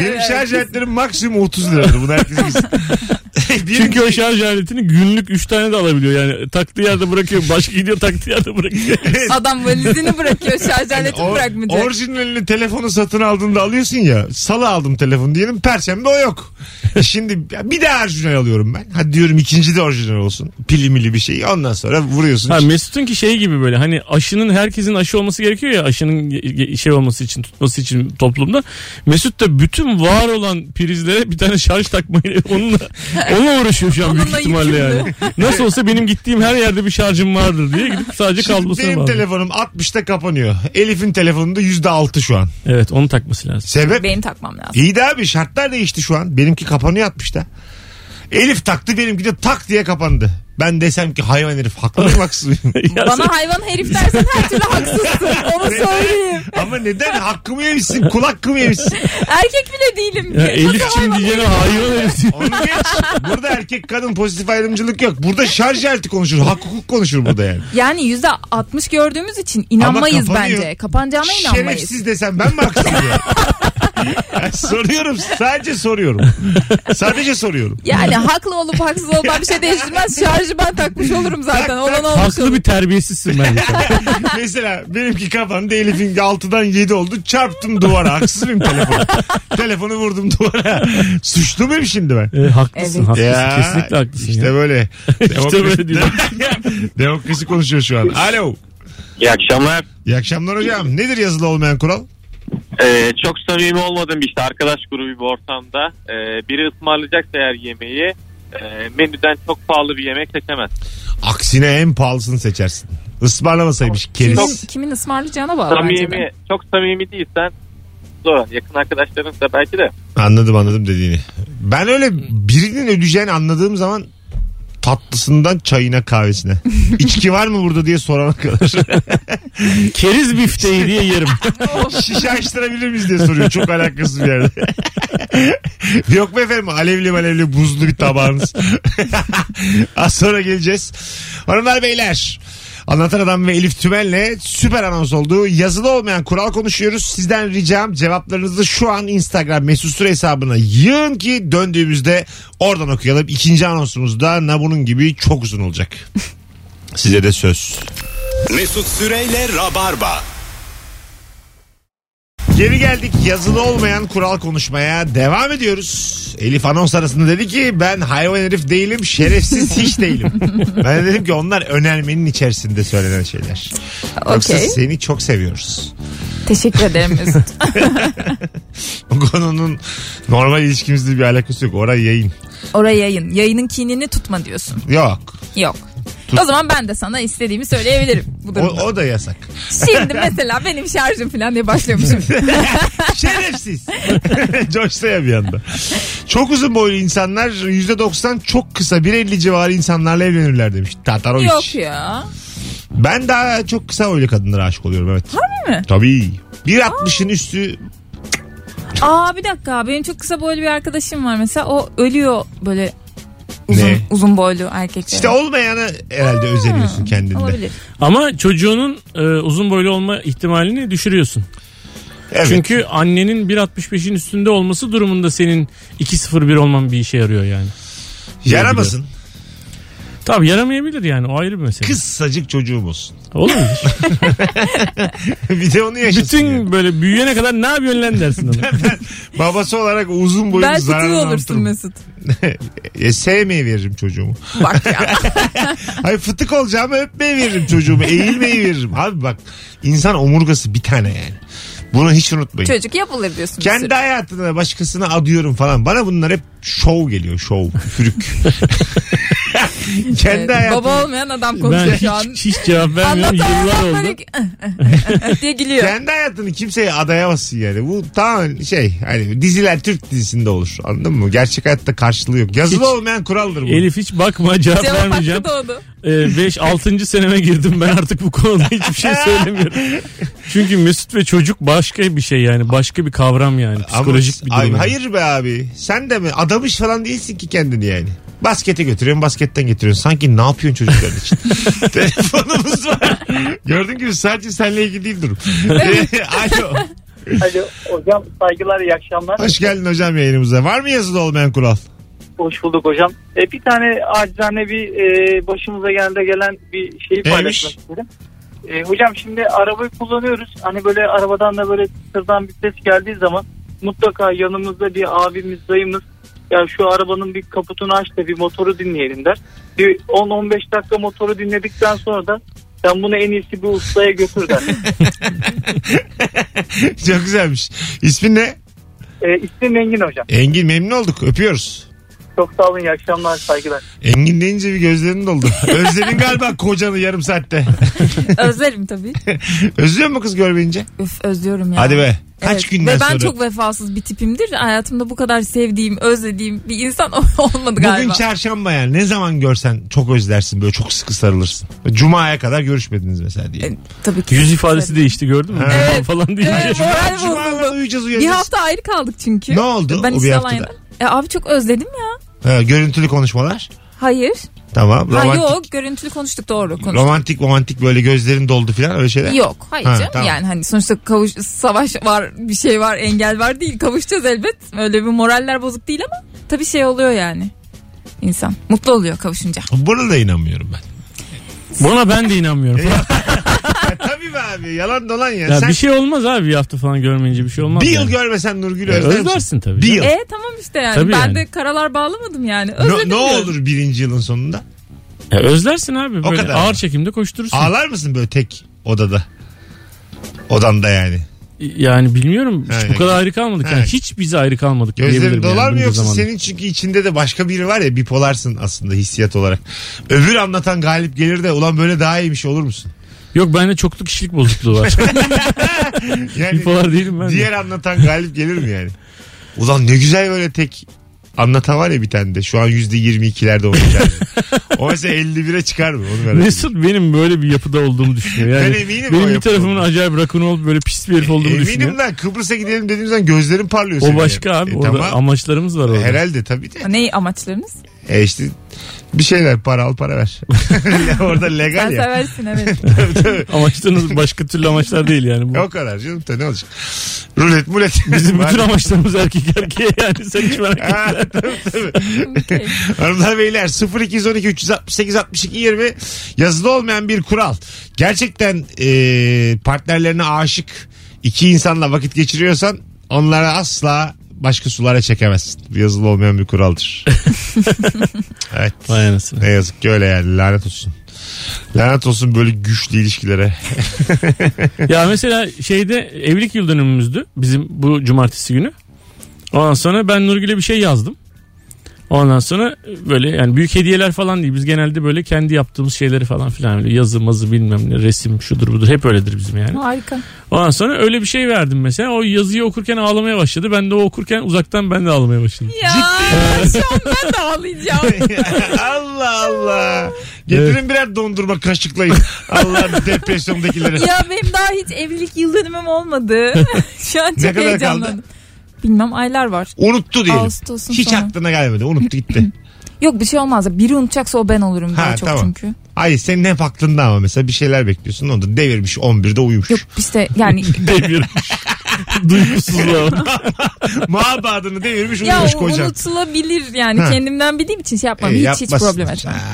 Speaker 2: Benim şarj aletlerim maksimum 30 liradır. Bunu herkes bilsin. Diyelim
Speaker 4: Çünkü o
Speaker 2: ki-
Speaker 4: şarj aletini günlük 3 tane de alabiliyor yani. Taktığı yerde bırakıyor. Başka gidiyor taktığı yerde bırakıyor.
Speaker 3: Adam valizini bırakıyor şarj aletini
Speaker 2: Or-
Speaker 3: bırakmayacak.
Speaker 2: orijinalini telefonu satın aldığında alıyorsun ya. Salı aldım telefonu diyelim. Perşembe o yok. E Şimdi ya bir daha orijinal alıyorum ben. Hadi diyorum ikinci de orijinal olsun. Pili mili bir şey. Ondan sonra vuruyorsun.
Speaker 4: Ha, Mesut'un ki şey gibi böyle hani aşının herkesin aşı olması gerekiyor ya aşının ge- ge- şey olması için tutması için toplumda. Mesut da bütün var olan prizlere bir tane şarj takmayla onunla, onunla uğraşıyor şu an büyük
Speaker 3: Onunla
Speaker 4: ihtimalle
Speaker 3: yükümlü.
Speaker 4: yani. Nasıl olsa benim gittiğim her yerde bir şarjım vardır diye gidip sadece
Speaker 2: Şimdi
Speaker 4: kablosuna
Speaker 2: benim
Speaker 4: bağlı.
Speaker 2: telefonum 60'ta kapanıyor. Elif'in telefonunda %6 şu an.
Speaker 4: Evet onu takması lazım.
Speaker 2: Sebep?
Speaker 3: Benim takmam lazım.
Speaker 2: İyi de abi şartlar değişti şu an. Benimki kapanıyor 60'ta. Elif taktı benimki de tak diye kapandı. Ben desem ki hayvan herif haklı mıyım haksız mıyım?
Speaker 4: Ya sen-
Speaker 3: Bana hayvan herif dersen her türlü haksızsın. Onu söyleyeyim.
Speaker 2: Ama neden? Hakkımı yemişsin. Kul hakkımı yemişsin.
Speaker 3: Erkek bile değilim.
Speaker 4: ya
Speaker 3: ki.
Speaker 4: Elif
Speaker 3: Nasıl
Speaker 4: kim
Speaker 3: hayvan
Speaker 4: diyeceğine hayvan herif diyor.
Speaker 2: Onu geç. Burada erkek kadın pozitif ayrımcılık yok. Burada şarj aleti konuşur. Hak hukuk konuşur burada yani.
Speaker 3: Yani yüzde 60 gördüğümüz için inanmayız
Speaker 2: Ama kapanıyor.
Speaker 3: bence. Kapanacağına inanmayız.
Speaker 2: Şerefsiz desem ben mi haksızım ya? Ya soruyorum. Sadece soruyorum. Sadece soruyorum.
Speaker 3: Yani haklı olup haksız olmam bir şey değiştirmez. Şarjı ben takmış olurum zaten. Olan olmuş olur.
Speaker 4: Haklı bir terbiyesizsin bence. sen.
Speaker 2: Mesela benimki kapandı. Elif'in 6'dan 7 oldu. Çarptım duvara. Haksız mıyım telefonu? Telefonu vurdum duvara. Suçlu muyum şimdi ben?
Speaker 4: E, haklısın
Speaker 3: Evet.
Speaker 4: haklısın.
Speaker 2: Ya,
Speaker 4: Kesinlikle haklısın.
Speaker 2: İşte
Speaker 4: ya.
Speaker 2: böyle. Demokrasi,
Speaker 4: böyle diyor.
Speaker 2: Demokrasi konuşuyor şu an. Alo.
Speaker 8: İyi akşamlar.
Speaker 2: İyi akşamlar hocam. Nedir yazılı olmayan kural?
Speaker 8: Ee, çok samimi olmadığım işte arkadaş grubu bir ortamda e, biri ısmarlayacaksa eğer yemeği e, menüden çok pahalı bir yemek seçemez.
Speaker 2: Aksine en pahalısını seçersin. Ismarlamasaymış
Speaker 3: Kimin,
Speaker 2: keriz.
Speaker 3: kimin ısmarlayacağına bağlı bence de.
Speaker 8: Samimi, çok samimi değilsen zor. Yakın arkadaşların da belki de.
Speaker 2: Anladım anladım dediğini. Ben öyle birinin ödeyeceğini anladığım zaman tatlısından çayına kahvesine. İçki var mı burada diye sorana kadar.
Speaker 4: Keriz bifteği diye yerim.
Speaker 2: Şişe açtırabilir miyiz diye soruyor. Çok alakasız bir yerde. Yok mu efendim alevli malevli buzlu bir tabağınız. Az sonra geleceğiz. Hanımlar beyler Anlatan Adam ve Elif Tümen'le süper anons olduğu yazılı olmayan kural konuşuyoruz. Sizden ricam cevaplarınızı şu an Instagram mesut süre hesabına yığın ki döndüğümüzde oradan okuyalım. İkinci anonsumuz da na bunun gibi çok uzun olacak. Size de söz.
Speaker 1: Mesut Süreyle Rabarba.
Speaker 2: Geri geldik yazılı olmayan kural konuşmaya devam ediyoruz. Elif anons arasında dedi ki ben hayvan herif değilim şerefsiz hiç değilim. ben de dedim ki onlar önermenin içerisinde söylenen şeyler. Yoksa
Speaker 3: Okey.
Speaker 2: seni çok seviyoruz.
Speaker 3: Teşekkür ederim Mesut.
Speaker 2: Bu konunun normal ilişkimizle bir alakası yok. Oraya yayın.
Speaker 3: Oraya yayın. Yayının kinini tutma diyorsun.
Speaker 2: Yok.
Speaker 3: Yok. O zaman ben de sana istediğimi söyleyebilirim bu
Speaker 2: O,
Speaker 3: durumda.
Speaker 2: o da yasak.
Speaker 3: Şimdi mesela benim şarjım falan diye başlamışım.
Speaker 2: Şerefsiz. Coştu ya bir anda. Çok uzun boylu insanlar %90 çok kısa 1.50 civarı insanlarla evlenirler demiş. Tatarovic.
Speaker 3: Yok ya.
Speaker 2: Ben daha çok kısa boylu kadınlara aşık oluyorum evet. Harbi
Speaker 3: mi?
Speaker 2: Tabii. 1.60'ın üstü
Speaker 3: Aa bir dakika benim çok kısa boylu bir arkadaşım var mesela o ölüyor böyle uzun
Speaker 2: Ne?
Speaker 3: uzun boylu erkekler.
Speaker 2: işte olmayanı herhalde özeniyorsun kendinde.
Speaker 3: Olabilir.
Speaker 4: Ama çocuğunun e, uzun boylu olma ihtimalini düşürüyorsun.
Speaker 2: Evet.
Speaker 4: Çünkü annenin 1.65'in üstünde olması durumunda senin 2.01 olman bir işe yarıyor yani. şey
Speaker 2: yaramasın.
Speaker 4: Tabii yaramayabilir yani o ayrı bir mesele.
Speaker 2: Kıssacık çocuğum olsun.
Speaker 4: Olabilir.
Speaker 2: bir de onu yaşasın. yani.
Speaker 4: Bütün böyle büyüyene kadar ne yapıyorsun lan dersin ona.
Speaker 2: Babası olarak uzun boylu
Speaker 3: Belki tüy
Speaker 2: zararını
Speaker 3: olursun
Speaker 2: anlatırım.
Speaker 3: Mesut.
Speaker 2: E, sevmeyi veririm çocuğumu.
Speaker 3: Bak ya.
Speaker 2: Hayır fıtık olacağımı öpmeyi veririm çocuğumu. Eğilmeyi veririm. Abi bak insan omurgası bir tane yani. Bunu hiç unutmayın.
Speaker 3: Çocuk yapılır diyorsun. bir
Speaker 2: Kendi
Speaker 3: sürü.
Speaker 2: hayatına başkasına adıyorum falan. Bana bunlar hep şov geliyor şov. Üfürük. Kendi
Speaker 3: Evet,
Speaker 2: hayatına.
Speaker 3: Baba olmayan adam
Speaker 4: Ben
Speaker 3: konuşuyor şu an.
Speaker 4: hiç, hiç cevap vermiyorum yıllar
Speaker 3: Anlatan böyle
Speaker 4: oldu.
Speaker 3: Hani ki- diye gülüyor.
Speaker 2: Kendi hayatını kimseye adayamazsın yani. Bu tamamen şey hani diziler Türk dizisinde olur. Anladın mı? Gerçek hayatta karşılığı yok. Yazılı
Speaker 4: Hiç-
Speaker 2: olmayan kuraldır bu.
Speaker 4: Elif hiç bakma cevap
Speaker 3: Cevap
Speaker 4: vermeyeceğim.
Speaker 3: hakkı doğdu.
Speaker 4: 5-6. Ee, seneme girdim ben artık bu konuda hiçbir şey söylemiyorum. Çünkü Mesut ve çocuk başka bir şey yani başka bir kavram yani
Speaker 2: Ama-
Speaker 4: psikolojik bir durum.
Speaker 2: Ay,
Speaker 4: yani.
Speaker 2: Hayır be abi. Sen de mi? Adamış falan değilsin ki kendini yani. Baskete götürüyorsun, basketten getiriyorsun. Sanki ne yapıyorsun çocuklar için? Telefonumuz var. Gördüğün gibi sadece seninle ilgili değil durum. Alo.
Speaker 9: Alo hocam saygılar iyi akşamlar.
Speaker 2: Hoş geldin hocam yayınımıza. Var mı yazılı olmayan kural?
Speaker 9: Hoş bulduk hocam. E, bir tane acizane bir e, başımıza geldi gelen bir şeyi
Speaker 2: Neymiş?
Speaker 9: paylaşmak istedim. E, hocam şimdi arabayı kullanıyoruz. Hani böyle arabadan da böyle sırdan bir ses geldiği zaman mutlaka yanımızda bir abimiz dayımız ya şu arabanın bir kaputunu aç da bir motoru dinleyelim der. Bir 10-15 dakika motoru dinledikten sonra da sen bunu en iyisi bir ustaya götür der.
Speaker 2: Çok güzelmiş. İsmin ne?
Speaker 9: e, ismim Engin hocam.
Speaker 2: Engin memnun olduk. Öpüyoruz.
Speaker 9: Çok sağ olun iyi akşamlar saygılar.
Speaker 2: Engin deyince bir gözlerin doldu. Özledin galiba kocanı yarım saatte.
Speaker 3: Özlerim tabii.
Speaker 2: Özlüyor mu kız görmeyince?
Speaker 3: Üf özlüyorum ya.
Speaker 2: Hadi be. Kaç
Speaker 3: Evet.
Speaker 2: günden
Speaker 3: Ve ben
Speaker 2: sonra?
Speaker 3: çok vefasız bir tipimdir. Hayatımda bu kadar sevdiğim, özlediğim bir insan olmadı galiba.
Speaker 2: Bugün çarşamba yani. Ne zaman görsen çok özlersin. Böyle çok sıkı sarılırsın. Cuma'ya kadar görüşmediniz mesela diye.
Speaker 3: E, Tabii ki.
Speaker 4: Yüz ifadesi değişti gördün mü?
Speaker 3: Evet.
Speaker 4: Falan deyince.
Speaker 3: Evet, moral
Speaker 2: Cuma
Speaker 3: bozuldu.
Speaker 2: kadar uyuyacağız
Speaker 3: E, Bir
Speaker 2: uyanacağız.
Speaker 3: hafta ayrı kaldık çünkü.
Speaker 2: Ne oldu
Speaker 3: Ben
Speaker 2: o bir haftada?
Speaker 3: İstalya'daydım. E, abi çok özledim ya.
Speaker 2: Ha, görüntülü konuşmalar.
Speaker 3: Hayır.
Speaker 2: Tamam.
Speaker 3: Ha,
Speaker 2: Romantik,
Speaker 3: yok görüntülü konuştuk doğru konuştuk.
Speaker 2: romantik romantik böyle gözlerin doldu falan öyle şeyler.
Speaker 3: Yok hayır
Speaker 2: Ha,
Speaker 3: canım
Speaker 2: tamam.
Speaker 3: yani hani sonuçta kavuş savaş var bir şey var engel var değil kavuşacağız elbet öyle bir moraller bozuk değil ama tabii şey oluyor yani insan mutlu oluyor kavuşunca.
Speaker 2: Buna da inanmıyorum ben.
Speaker 4: Buna ben de inanmıyorum.
Speaker 2: Ya tabii be abi yalan dolan ya.
Speaker 4: Ya
Speaker 2: E, Sen
Speaker 4: bir
Speaker 2: bir,
Speaker 4: şey olmaz abi bir hafta falan görmeyince bir şey olmaz.
Speaker 2: yıl
Speaker 4: yani.
Speaker 2: görmesen Nurgül'ü
Speaker 4: Ya
Speaker 2: özler misin?
Speaker 4: özlersin tabii.
Speaker 2: Bir
Speaker 4: canım.
Speaker 2: yıl.
Speaker 3: E tamam işte yani
Speaker 4: Tabii
Speaker 3: ben
Speaker 4: yani.
Speaker 3: de karalar bağlamadım yani
Speaker 2: Ne,
Speaker 3: özledim
Speaker 2: ne
Speaker 3: diyorum.
Speaker 2: olur birinci yılın sonunda?
Speaker 4: Ya özlersin abi böyle
Speaker 2: kadar.
Speaker 4: ağır çekimde koşturursun.
Speaker 2: Ağlar mısın böyle tek odada? Odanda yani.
Speaker 4: Yani bilmiyorum hiç
Speaker 2: Ha,
Speaker 4: bu kadar ayrı kalmadık. Yani
Speaker 2: Evet.
Speaker 4: hiç biz ayrı kalmadık.
Speaker 2: Gözlerin
Speaker 4: diyebilirim yani
Speaker 2: dolar mı
Speaker 4: bunca
Speaker 2: yoksa
Speaker 4: zamanda.
Speaker 2: senin çünkü içinde de başka biri var ya bipolarsın aslında hissiyat olarak. Öbür anlatan galip gelir de ulan böyle daha iyiymiş olur musun?
Speaker 4: Yok bende çoklu kişilik bozukluğu var.
Speaker 2: Yani
Speaker 4: Bipolar değilim ben de.
Speaker 2: diğer anlatan galip gelir mi yani? Ulan ne güzel böyle tek anlatan var ya bir tane de şu an %22'lerde o hikaye. o mesela 51'e çıkar mı? Onu merak ediyorum.
Speaker 4: Mesut benim böyle bir yapıda olduğumu düşünüyor. Yani
Speaker 2: Ben eminim o
Speaker 4: benim bir
Speaker 2: yapıda
Speaker 4: tarafımın
Speaker 2: olduğunu. E,
Speaker 4: acayip rakun olup böyle pis bir herif olduğumu düşünüyor.
Speaker 2: Eminim lan Kıbrıs'a gidelim dediğim zaman gözlerim parlıyor.
Speaker 4: O
Speaker 2: senin
Speaker 4: başka
Speaker 2: yani.
Speaker 4: abi.
Speaker 2: E
Speaker 4: orada
Speaker 2: tamam.
Speaker 4: amaçlarımız var orada.
Speaker 2: Herhalde tabii de.
Speaker 3: Ne amaçlarınız?
Speaker 2: E işte bir şeyler para al para ver. Orada legal
Speaker 3: Sen
Speaker 2: ya.
Speaker 3: seversin evet.
Speaker 4: Amaçlarınız başka türlü amaçlar değil yani. Bu.
Speaker 2: O kadar canım da ne olacak. Rulet mulet.
Speaker 4: Bizim bütün amaçlarımız erkek erkeğe yani sen hiç merak etme.
Speaker 2: Ha, tabii, tabii.
Speaker 3: Okey.
Speaker 2: Hanımlar beyler 0212 368 62 20 yazılı olmayan bir kural. Gerçekten e, partnerlerine aşık iki insanla vakit geçiriyorsan onlara asla başka sulara çekemezsin. Bu Yazılı olmayan bir kuraldır. evet.
Speaker 4: Vay anasını.
Speaker 2: Ne yazık ki öyle yani lanet olsun. Lanet olsun böyle güçlü ilişkilere.
Speaker 4: Ya mesela şeyde evlilik yıl dönümümüzdü bizim bu cumartesi günü. Ondan sonra ben Nurgül'e bir şey yazdım. Ondan sonra böyle yani büyük hediyeler falan değil. Biz genelde böyle kendi yaptığımız şeyleri falan filan böyle yazı mazı bilmem ne resim şudur budur hep öyledir bizim yani.
Speaker 3: Harika.
Speaker 4: Ondan sonra öyle bir şey verdim mesela. O yazıyı okurken ağlamaya başladı. Ben de o okurken uzaktan ben de ağlamaya başladım.
Speaker 3: Ya şu an ben de ağlayacağım.
Speaker 2: Allah Allah. Getirin birer dondurma kaşıklayın. Allah depresyondakilere.
Speaker 3: ya benim daha hiç evlilik yıl dönümüm olmadı. şu an çok
Speaker 2: Ne kadar
Speaker 3: heyecanlandım.
Speaker 2: kaldı?
Speaker 3: Bilmem aylar var.
Speaker 2: Unuttu diyelim.
Speaker 3: Ağustos'un
Speaker 2: Hiç
Speaker 3: sonu.
Speaker 2: aklına gelmedi. Unuttu gitti.
Speaker 3: Yok bir şey olmaz. Biri unutacaksa o ben olurum
Speaker 2: Ha,
Speaker 3: daha çok
Speaker 2: tamam.
Speaker 3: çünkü.
Speaker 2: Ay senin hep aklında ama mesela bir şeyler bekliyorsun. Onu da devirmiş 11'de uyumuş.
Speaker 3: Yok işte yani
Speaker 4: Devirmiş. Duygusuzluğa.
Speaker 2: Mabadını devirmiş
Speaker 3: ya
Speaker 2: uyumuş
Speaker 3: o
Speaker 2: kocan.
Speaker 3: unutulabilir yani
Speaker 2: Ha.
Speaker 3: kendimden bildiğim için şey yapmam.
Speaker 2: E,
Speaker 3: hiç hiç
Speaker 2: yapmasın.
Speaker 3: problem etmem.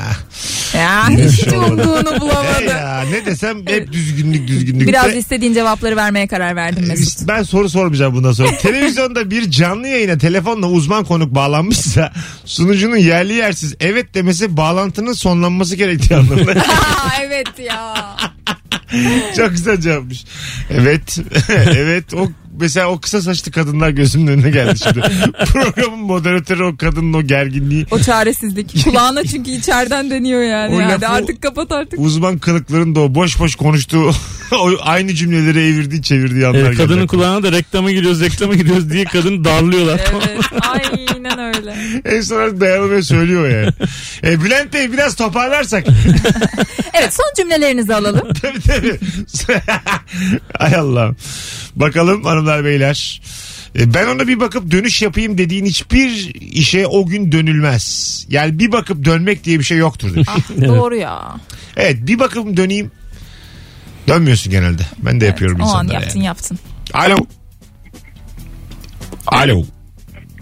Speaker 2: Ah,
Speaker 3: Ya
Speaker 2: Ne
Speaker 3: hiç
Speaker 2: şey olmadı.
Speaker 3: umduğunu
Speaker 2: e
Speaker 3: bulamadı.
Speaker 2: ya, ne desem hep düzgünlük düzgünlük.
Speaker 3: Biraz
Speaker 2: de- E,
Speaker 3: istediğin cevapları vermeye karar verdim Mesut.
Speaker 2: Ben soru sormayacağım bundan sonra. Televizyonda bir canlı yayına telefonla uzman konuk bağlanmışsa sunucunun yerli yersiz evet demesi bağlantının sonlanması gerektiği anlamına.
Speaker 3: Aa, evet ya.
Speaker 2: Çok güzel cevapmış. Evet. evet. O Mesela o kısa saçlı kadınlar gözümün önüne geldi şimdi. Programın moderatörü o kadının o gerginliği.
Speaker 3: O çaresizlik. Kulağına çünkü içeriden dönüyor yani.
Speaker 2: O
Speaker 3: Hadi
Speaker 2: lafı-
Speaker 3: artık kapat artık.
Speaker 2: Uzman kılıkların da o boş boş konuştuğu o aynı cümleleri evirdiği çevirdiği anlar
Speaker 4: Evet, kadının
Speaker 2: gelecek.
Speaker 4: kulağına da reklama giriyoruz reklama giriyoruz diye kadını darlıyorlar.
Speaker 3: Evet. Aynen öyle.
Speaker 2: En son artık dayanamaya söylüyor yani. e, Bülent Bey biraz toparlarsak.
Speaker 3: Evet son cümlelerinizi alalım.
Speaker 2: tabii tabii. Ay Allah'ım. Bakalım hanımlar beyler. E, Ben ona bir bakıp dönüş yapayım dediğin hiçbir işe o gün dönülmez. Yani bir bakıp dönmek diye bir şey yoktur demiş.
Speaker 3: Ah. Doğru ya.
Speaker 2: evet bir bakıp döneyim. Dönmüyorsun genelde. Ben de yapıyorum
Speaker 3: O an
Speaker 2: insanlara.
Speaker 3: yaptın
Speaker 2: yani.
Speaker 3: yaptın.
Speaker 2: Alo. Alo.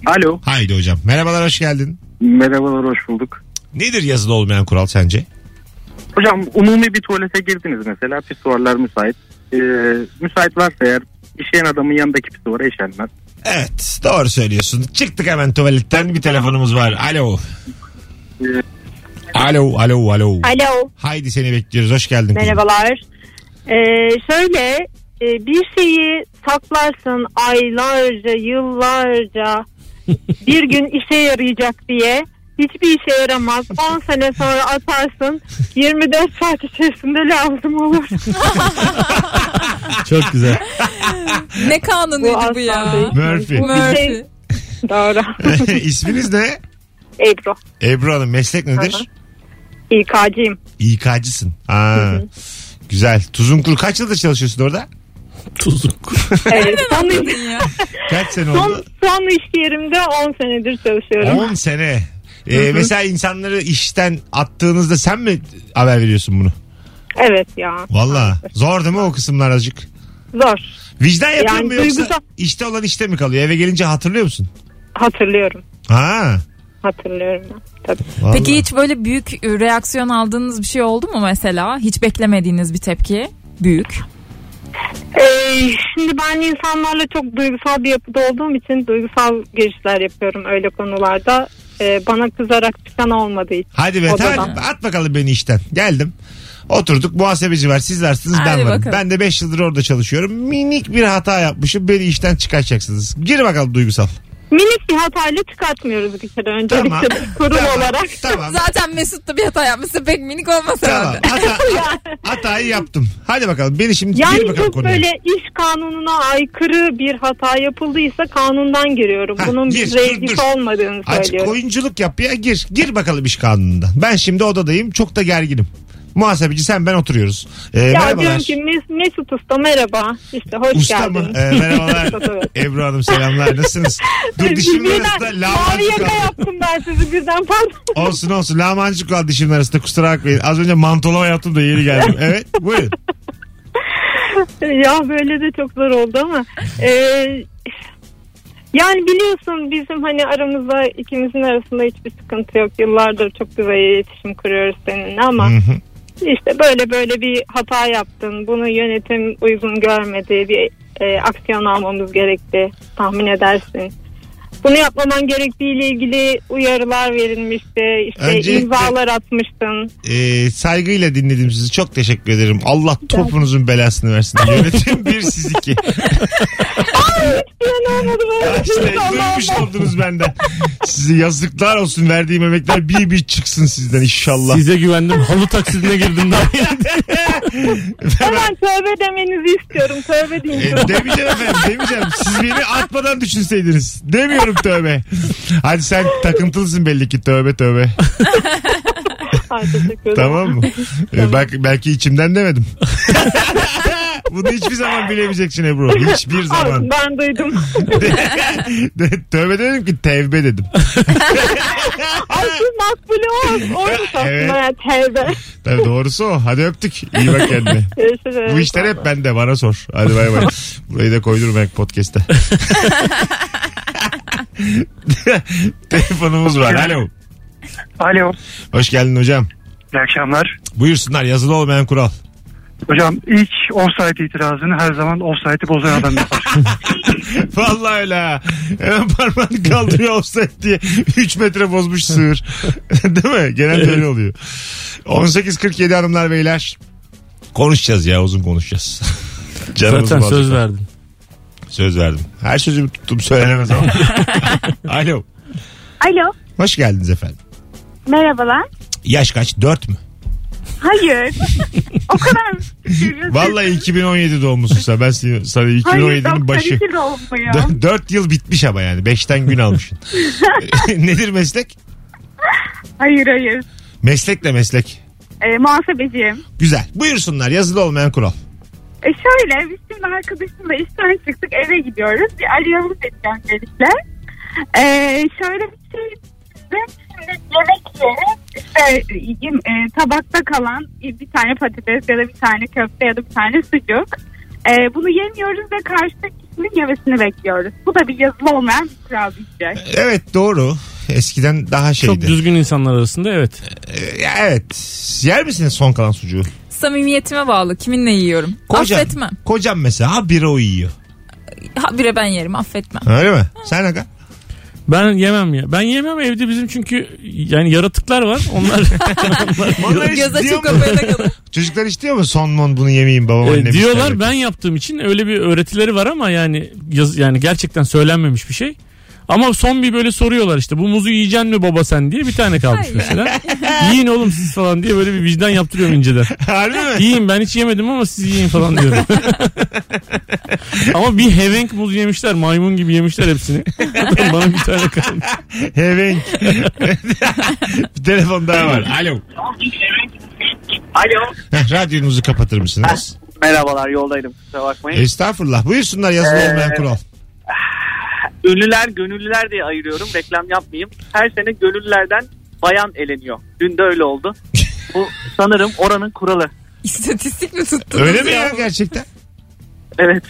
Speaker 5: Alo.
Speaker 2: Haydi hocam. Merhabalar hoş geldin.
Speaker 5: Merhabalar hoş bulduk.
Speaker 2: Nedir yazılı olmayan kural sence?
Speaker 5: Hocam umumi bir tuvalete girdiniz mesela pisuarlar müsait. Ee, müsait varsa eğer işeyen adamın yanındaki pisuvara işenmez.
Speaker 2: Evet doğru söylüyorsun. Çıktık hemen tuvaletten bir telefonumuz var. Alo. Alo alo alo.
Speaker 7: Alo
Speaker 2: Haydi seni bekliyoruz. Hoş geldin. kızım.
Speaker 7: merhabalar. Ee, şöyle e, bir şeyi saklarsın aylarca yıllarca bir gün işe yarayacak diye hiçbir işe yaramaz. 10 sene sonra atarsın 24 saat içerisinde lazım olur.
Speaker 4: Çok güzel.
Speaker 3: Ne kanunuydu bu,
Speaker 7: Bu
Speaker 3: ya?
Speaker 7: asla değil.
Speaker 2: Murphy.
Speaker 7: Bu bir şey-
Speaker 3: Murphy.
Speaker 7: Doğru.
Speaker 2: İsminiz ne?
Speaker 7: Ebru.
Speaker 2: Ebru Hanım meslek nedir?
Speaker 7: İK'cıyım.
Speaker 2: İK'cısın. Aa, güzel. Tuzun kuru. Kaç yıldır çalışıyorsun orada?
Speaker 4: Tuzuk.
Speaker 7: Evet, son, iş-
Speaker 3: Ya.
Speaker 2: Kaç sene
Speaker 7: son,
Speaker 2: oldu?
Speaker 7: son iş yerimde 10 senedir çalışıyorum.
Speaker 2: 10 sene. Ee, mesela insanları işten attığınızda sen mi haber veriyorsun bunu?
Speaker 7: Evet ya.
Speaker 2: Valla. Zor değil mi o kısımlar azıcık?
Speaker 7: Zor.
Speaker 2: Vicdan yapıyor
Speaker 7: Yani
Speaker 2: mu yoksa
Speaker 7: duygusal-
Speaker 2: işte olan işte mi kalıyor? Eve gelince hatırlıyor musun?
Speaker 7: Hatırlıyorum.
Speaker 2: Ha.
Speaker 7: Hatırlıyorum. ben. Tabii.
Speaker 2: vallahi.
Speaker 3: Peki hiç böyle büyük e, reaksiyon aldığınız bir şey oldu mu mesela? Hiç beklemediğiniz bir tepki. Büyük.
Speaker 7: Ee, şimdi ben insanlarla çok duygusal bir yapıda olduğum için duygusal girişler yapıyorum öyle konularda. Ee, bana kızarak çıkan olmadı hiç.
Speaker 2: Hadi be
Speaker 7: Odadan.
Speaker 2: tamam, at bakalım beni işten. Geldim. Oturduk muhasebeci var siz varsınız ben
Speaker 3: Hadi
Speaker 2: varım.
Speaker 3: bakalım.
Speaker 2: Ben de 5 yıldır orada çalışıyorum. Minik bir hata yapmışım beni işten çıkartacaksınız. Gir bakalım duygusal.
Speaker 7: Minik bir hatayla çıkartmıyoruz bir kere öncelikle
Speaker 2: Tamam.
Speaker 7: bir kurul
Speaker 2: Tamam,
Speaker 7: olarak.
Speaker 2: Tamam.
Speaker 3: Zaten Mesut da bir hata yapmışsa pek minik olmasa
Speaker 2: Tamam.
Speaker 3: herhalde.
Speaker 2: Hata, hatayı yaptım. Hadi bakalım beni şimdi gir
Speaker 7: Yani
Speaker 2: bakalım
Speaker 7: çok
Speaker 2: konuya.
Speaker 7: böyle iş kanununa aykırı bir hata yapıldıysa kanundan giriyorum.
Speaker 2: Ha,
Speaker 7: Bunun
Speaker 2: gir,
Speaker 7: bir
Speaker 2: dur,
Speaker 7: reddif
Speaker 2: dur.
Speaker 7: olmadığını
Speaker 2: Açık
Speaker 7: söylüyorum.
Speaker 2: oyunculuk yap ya gir. Gir bakalım iş kanunundan. Ben şimdi odadayım çok da gerginim. Muhasebeci sen ben oturuyoruz. Ee,
Speaker 10: Ya
Speaker 2: merhabalar.
Speaker 10: diyorum ki Mes- Mesut Usta merhaba. İşte hoş
Speaker 2: Usta mı?
Speaker 10: geldin.
Speaker 2: Ee, merhabalar.
Speaker 10: Evet.
Speaker 2: Ebru Hanım selamlar. Nasılsınız? Dur dişimin arasında
Speaker 10: Birden mavi
Speaker 2: lahmacun
Speaker 10: yaka
Speaker 2: kaldı.
Speaker 10: yaptım ben sizi birden pardon.
Speaker 2: Olsun olsun. Lahmacun kaldı dişimin arasında. Kusura bakmayın. Az önce mantolama yaptım da yeni geldim. Evet buyurun.
Speaker 10: ya böyle de çok zor oldu ama. Ee, yani biliyorsun bizim hani aramızda ikimizin arasında hiçbir sıkıntı yok. Yıllardır çok güzel iletişim kuruyoruz seninle ama
Speaker 2: Hı hı.
Speaker 10: işte böyle böyle bir hata yaptın. Bunu yönetim uygun görmedi. Bir e, aksiyon almamız gerekti. Tahmin edersin. Bunu yapmaman gerektiğiyle ilgili uyarılar verilmişti. İşte
Speaker 2: Öncelikle-
Speaker 10: imzalar atmıştın.
Speaker 2: Ee, saygıyla dinledim sizi. Çok teşekkür ederim. Allah topunuzun belasını versin. Yönetim bir siz iki.
Speaker 10: Hiçbir an olmadı böyle.
Speaker 2: İşte duymuş oldunuz benden. Size yazıklar olsun. Verdiğim emekler bir bir çıksın sizden inşallah.
Speaker 4: Size güvendim. Halı taksidine girdim daha.
Speaker 10: Hemen tövbe demenizi istiyorum. Tövbe
Speaker 2: E,
Speaker 10: deyin.
Speaker 2: demeyeceğim efendim demeyeceğim. Siz beni atmadan düşünseydiniz. Demiyorum tövbe. Hadi sen takıntılısın belli ki tövbe tövbe.
Speaker 10: Ay, teşekkür ederim.
Speaker 2: tamam mı? E, bak belki içimden demedim. Bunu hiçbir zaman bilemeyeceksin Ebru. Hiçbir
Speaker 10: Ay,
Speaker 2: zaman.
Speaker 10: ben duydum.
Speaker 2: tövbe dedim ki tevbe dedim.
Speaker 10: Ay siz makbule o. Orada
Speaker 2: Evet.
Speaker 10: aslında ya tevbe.
Speaker 2: Tabii doğrusu o. Hadi öptük. İyi bak kendine.
Speaker 10: Görüşürüz.
Speaker 2: Bu işler hep bende. Bana sor. Hadi bay bay. Burayı da koydurum belki podcast'te. Telefonumuz var. Alo.
Speaker 9: Alo.
Speaker 2: Hoş geldin hocam.
Speaker 9: İyi akşamlar.
Speaker 2: Buyursunlar yazılı olmayan kural.
Speaker 9: Hocam ilk offside itirazını her zaman offside'i bozan adam yapar.
Speaker 2: Vallahi öyle ha. Hemen parmağını kaldırıyor offside diye 3 metre bozmuş sığır. Değil mi? Genelde öyle oluyor. 18.47 hanımlar beyler. Konuşacağız ya uzun konuşacağız. Canımız
Speaker 4: Zaten söz
Speaker 2: verdim.
Speaker 4: verdin.
Speaker 2: Söz verdim. Her sözümü tuttum söylenemez ama. Alo.
Speaker 6: Alo
Speaker 2: Hoş geldiniz efendim.
Speaker 6: merhabalar.
Speaker 2: Yaş kaç? 4 mü?
Speaker 6: Hayır. o kadar
Speaker 10: Ee,
Speaker 2: Vallahi 2017 doğumlusun sen. Ben seni- sana 2017'nin başı. 4 yıl bitmiş ama yani. 5'ten gün almışsın. Nedir meslek?
Speaker 6: Hayır hayır.
Speaker 2: Meslekle meslek.
Speaker 6: E, muhasebeciyim.
Speaker 2: Güzel. Buyursunlar yazılı olmayan kural.
Speaker 6: E, şöyle biz şimdi arkadaşımla işten çıktık eve gidiyoruz. Bir arıyoruz dedik öncelikle. E, şöyle bir şey biz şimdi yemek yiyelim. İşte yiyeyim, e, tabakta kalan bir tane patates ya da bir tane köfte ya da bir tane sucuk. E, bunu yemiyoruz ve karşıdaki kişinin yemesini bekliyoruz. Bu da bir yazılı olmayan bir şey. kural diyecek.
Speaker 2: Evet doğru. Eskiden daha
Speaker 4: Çok
Speaker 2: şeydi.
Speaker 4: düzgün insanlar arasında evet.
Speaker 2: Ee, evet. Yer misiniz son kalan sucuğu?
Speaker 3: Samimiyetime bağlı. Kiminle yiyorum? Affetmem.
Speaker 2: Kocam mesela ha biri o yiyor.
Speaker 3: Ha bire ben yerim affetmem.
Speaker 2: Öyle mi? Sen aga?
Speaker 4: Ben yemem ya. Ben yemem evde bizim çünkü yani yaratıklar var. Onlar
Speaker 2: Onlar hiç
Speaker 3: Göz
Speaker 2: diyor
Speaker 3: açık
Speaker 2: mu?
Speaker 3: kapayana kadar.
Speaker 2: Çocuklar hiç diyor mu son mon bunu yemeyeyim babam
Speaker 4: e,
Speaker 2: annem.
Speaker 4: diyorlar
Speaker 2: ister.
Speaker 4: ben yaptığım için öyle bir öğretileri var ama yani yaz, yani gerçekten söylenmemiş bir şey. Ama son bir böyle soruyorlar işte bu muzu yiyeceksin mi baba sen diye bir tane kalmış
Speaker 3: Ay.
Speaker 4: mesela. Yiyin oğlum siz falan diye böyle bir vicdan yaptırıyorum inceden.
Speaker 2: Harbi mi?
Speaker 4: Yiyin ben hiç yemedim ama siz yiyin falan diyorum. ama bir hevenk muz yemişler maymun gibi yemişler hepsini. Bana bir tane kalmış.
Speaker 2: Hevenk. bir telefon daha var. Alo.
Speaker 9: Alo.
Speaker 2: Heh, radyonuzu kapatır mısınız?
Speaker 9: Merhabalar yoldaydım kusura bakmayın.
Speaker 2: Ah. Estağfurullah. Buyursunlar yazılı
Speaker 9: Ee,
Speaker 2: olmayan kural.
Speaker 9: Ünlüler gönüllüler diye ayırıyorum reklam yapmayayım. Her sene gönüllülerden bayan eleniyor. Dün de öyle oldu. Bu sanırım oranın kuralı.
Speaker 3: İstatistik mi tuttunuz
Speaker 2: Öyle mi ya gerçekten?
Speaker 9: Evet.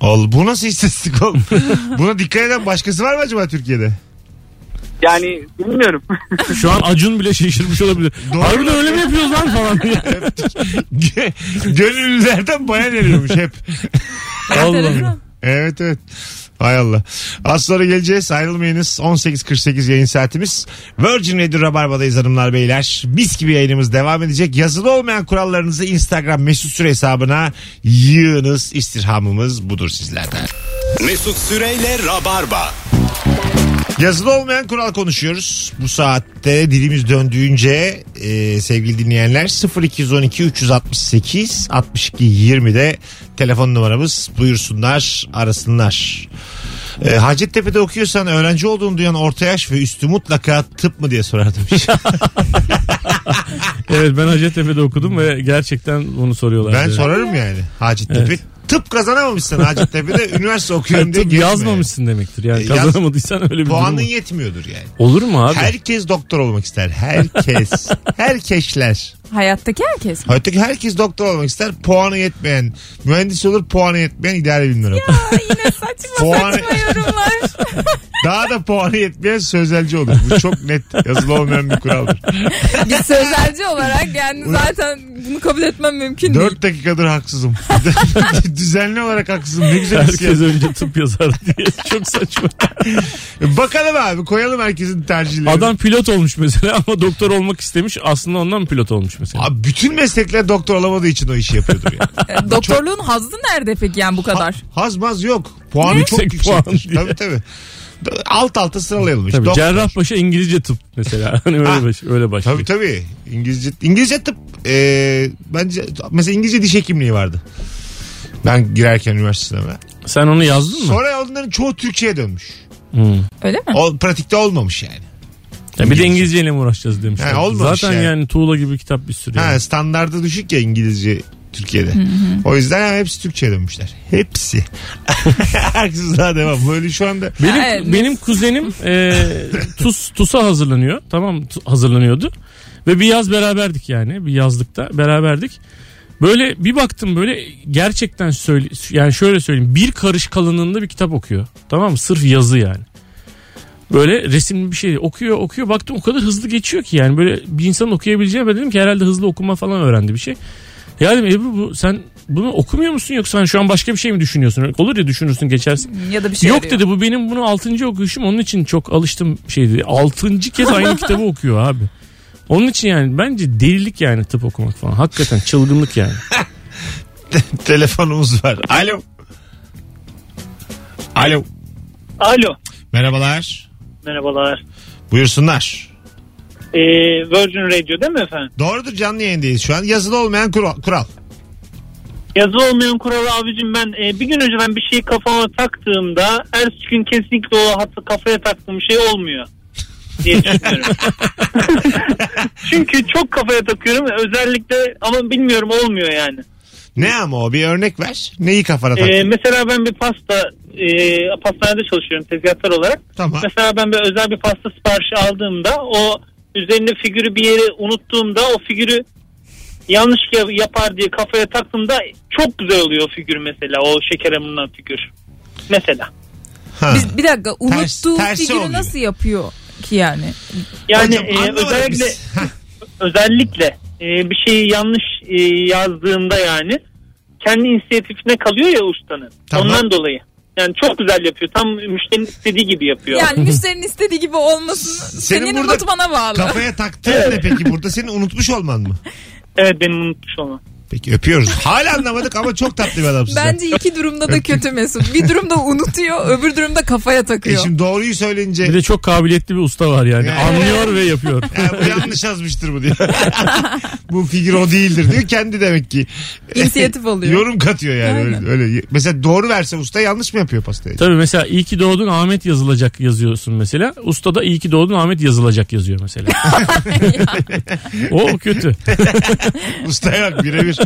Speaker 2: Ol, bu nasıl istatistik oğlum? Buna dikkat eden başkası var mı acaba Türkiye'de?
Speaker 9: Yani bilmiyorum.
Speaker 4: Şu an Acun bile şaşırmış olabilir.
Speaker 2: Doğru.
Speaker 4: Harbiden öyle mi yapıyoruz lan falan diye.
Speaker 2: Gö- Gönüllülerden bayan eriyormuş hep.
Speaker 4: Allah.
Speaker 2: Evet evet. Hay Allah. Az sonra geleceğiz. Ayrılmayınız. 18.48 yayın saatimiz. Virgin Radio Rabarba'dayız hanımlar beyler. Mis gibi yayınımız devam edecek. Yazılı olmayan kurallarınızı Instagram mesut süre hesabına yığınız. İstirhamımız budur sizlerden.
Speaker 1: Mesut Süreyle Rabarba.
Speaker 2: Yazılı olmayan kural konuşuyoruz. Bu saatte dilimiz döndüğünce e, sevgili dinleyenler 0212 368 62 20'de telefon numaramız buyursunlar arasınlar. E, Hacettepe'de okuyorsan öğrenci olduğunu duyan orta yaş ve üstü mutlaka tıp mı diye sorardım.
Speaker 4: Evet ben Hacettepe'de okudum ve gerçekten bunu soruyorlar.
Speaker 2: ben sorarım yani. Hacettepe tıp kazanamamışsın Hacettepe'de üniversite okuyorum diye gezme.
Speaker 4: yazmamışsın demektir. Yani
Speaker 2: E, Yaz-
Speaker 4: kazanamadıysan öyle bir durum.
Speaker 2: Puanın
Speaker 4: var.
Speaker 2: yetmiyordur yani.
Speaker 4: Olur mu abi?
Speaker 2: Herkes doktor olmak ister. Herkes. Herkesler.
Speaker 3: Hayattaki herkes mi?
Speaker 2: Hayattaki herkes doktor olmak ister. Puanı yetmeyen. Mühendis olur puanı yetmeyen idare bilimleri okur.
Speaker 3: Yine saçma
Speaker 2: Puanı-
Speaker 3: saçma yorumlar.
Speaker 2: Daha da puanı yetmeyen sözelci olur. Bu çok net yazılı olmayan bir kuraldır.
Speaker 3: Biz sözelci olarak yani zaten bunu kabul etmem mümkün değil.
Speaker 2: 4 dakikadır haksızım. Düzenli olarak haksızım. Ne güzel bir şey.
Speaker 4: Herkes önce tıp yazar diye. Çok saçma.
Speaker 2: Bakalım abi koyalım herkesin tercihlerini.
Speaker 4: Adam pilot olmuş mesela ama doktor olmak istemiş. Aslında ondan pilot olmuş mesela.
Speaker 2: Abi bütün meslekler doktor olamadığı için o işi yapıyordur yani.
Speaker 3: E, Doktorluğun hazzı nerede peki yani bu kadar?
Speaker 2: Haz maz yok. Puanı çok
Speaker 4: Yüksek
Speaker 2: yüksek.
Speaker 4: puan diye.
Speaker 2: Tabii tabii. Da- Alt alta sıralayalım. işte.
Speaker 4: Tabii
Speaker 2: Doktor.
Speaker 4: Cerrahpaşa İngilizce tıp mesela. Hani
Speaker 2: Ha.
Speaker 4: öyle baş, öyle başlıyor.
Speaker 2: Tabii tabii. İngilizce İngilizce tıp e, bence mesela İngilizce diş hekimliği vardı. Ben girerken üniversite sınavına.
Speaker 4: Sen onu yazdın mı?
Speaker 2: Sonra onların çoğu Türkçe'ye dönmüş.
Speaker 4: Hı.
Speaker 3: Öyle mi?
Speaker 2: O pratikte olmamış yani.
Speaker 4: Ya bir de İngilizceyle mi uğraşacağız demişler.
Speaker 2: Ha, olmamış
Speaker 4: Zaten
Speaker 2: yani.
Speaker 4: yani. tuğla gibi kitap bir sürü. yani.
Speaker 2: Ha, standardı düşük ya İngilizce Türkiye'de. O yüzden yani hepsi Türkçe'ye dönmüşler. Hepsi. Herkes daha devam. Böyle şu anda
Speaker 4: Benim
Speaker 3: Evet.
Speaker 4: benim kuzenim e, TUS TUS'a hazırlanıyor. Tamam tu- hazırlanıyordu. Ve bir yaz beraberdik yani. Bir yazlıkta beraberdik. Böyle bir baktım böyle gerçekten söyle yani şöyle söyleyeyim. Bir karış kalınlığında bir kitap okuyor. Tamam mı? Sırf yazı yani. Böyle resimli bir şey okuyor okuyor baktım o kadar hızlı geçiyor ki yani böyle bir insanın okuyabileceği ben dedim ki herhalde hızlı okuma falan öğrendi bir şey. Ya dedim Ebru bu, sen bunu okumuyor musun yoksa hani şu an başka bir şey mi düşünüyorsun? Olur ya düşünürsün geçersin.
Speaker 3: Ya da bir şey
Speaker 4: Yok
Speaker 3: arıyor.
Speaker 4: dedi bu benim bunu 6. okuyuşum onun için çok alıştım şeydi. 6. kez aynı kitabı okuyor abi. Onun için yani bence delilik yani tıp okumak falan. Hakikaten çılgınlık yani.
Speaker 2: telefonumuz var. Alo. Alo.
Speaker 9: Alo.
Speaker 2: Merhabalar.
Speaker 9: Merhabalar.
Speaker 2: Buyursunlar.
Speaker 9: Ee, Virgin Radio değil mi efendim?
Speaker 2: Doğrudur canlı yayındayız şu an. Yazılı olmayan kural. kural.
Speaker 9: Yazı olmayan kuralı abicim ben e, bir gün önce ben bir şeyi kafama taktığımda ertesi gün kesinlikle o hatta kafaya taktığım şey olmuyor diye düşünüyorum. Çünkü çok kafaya takıyorum özellikle ama bilmiyorum olmuyor yani.
Speaker 2: Ne ama o bir örnek ver. Neyi kafana taktın?
Speaker 9: Ee, mesela ben bir pasta e, pastanede çalışıyorum tezgahtar olarak.
Speaker 2: tamam.
Speaker 9: Mesela ben bir özel bir pasta siparişi aldığımda o üzerinde figürü bir yere unuttuğumda o figürü yanlış ya- yapar diye kafaya taktığımda çok güzel oluyor o figür mesela o şeker hamurundan figür. Mesela.
Speaker 2: Ha.
Speaker 3: Biz, bir dakika unuttuğu
Speaker 2: tersi
Speaker 3: figürü
Speaker 2: oluyor.
Speaker 3: nasıl yapıyor ki yani?
Speaker 9: Yani
Speaker 2: Hocam,
Speaker 9: e,
Speaker 2: anlamadık
Speaker 9: özellikle
Speaker 2: biz. Ha,
Speaker 9: özellikle e, bir şeyi yanlış e, yazdığında yani kendi inisiyatifine kalıyor ya ustanın.
Speaker 2: Tamam.
Speaker 9: Ondan dolayı. Yani çok güzel yapıyor. Tam müşterinin istediği gibi yapıyor.
Speaker 3: Yani müşterinin istediği gibi olmasın.
Speaker 2: Senin
Speaker 3: Senin,
Speaker 2: burada
Speaker 3: unutmana bağlı.
Speaker 2: kafaya taktığın ne peki burada? Senin unutmuş olman mı?
Speaker 9: Evet benim unutmuş olmam.
Speaker 2: Peki öpüyoruz. Hala anlamadık ama çok tatlı bir adamsın. sen.
Speaker 3: Bence iki durumda da kötü Mesut. Bir durumda unutuyor, öbür durumda kafaya
Speaker 2: E
Speaker 3: takıyor.
Speaker 2: şimdi doğruyu söyleyince
Speaker 4: Bir de çok kabiliyetli bir usta var yani.
Speaker 2: Yani.
Speaker 4: Anlıyor ve yapıyor.
Speaker 2: "Ha, bu yanlış yazmıştır bu diyor. bu figür o değildir diyor. Kendi demek ki.
Speaker 3: İnisiyatif alıyor.
Speaker 2: Yorum katıyor yani.
Speaker 3: Aynen.
Speaker 2: Öyle, öyle. Mesela doğru verse usta yanlış mı yapıyor pastayı?
Speaker 4: Tabii mesela iyi ki doğdun Ahmet yazılacak yazıyorsun mesela. Usta da iyi ki doğdun Ahmet yazılacak yazıyor mesela. o kötü.
Speaker 2: Ustaya bak birebir.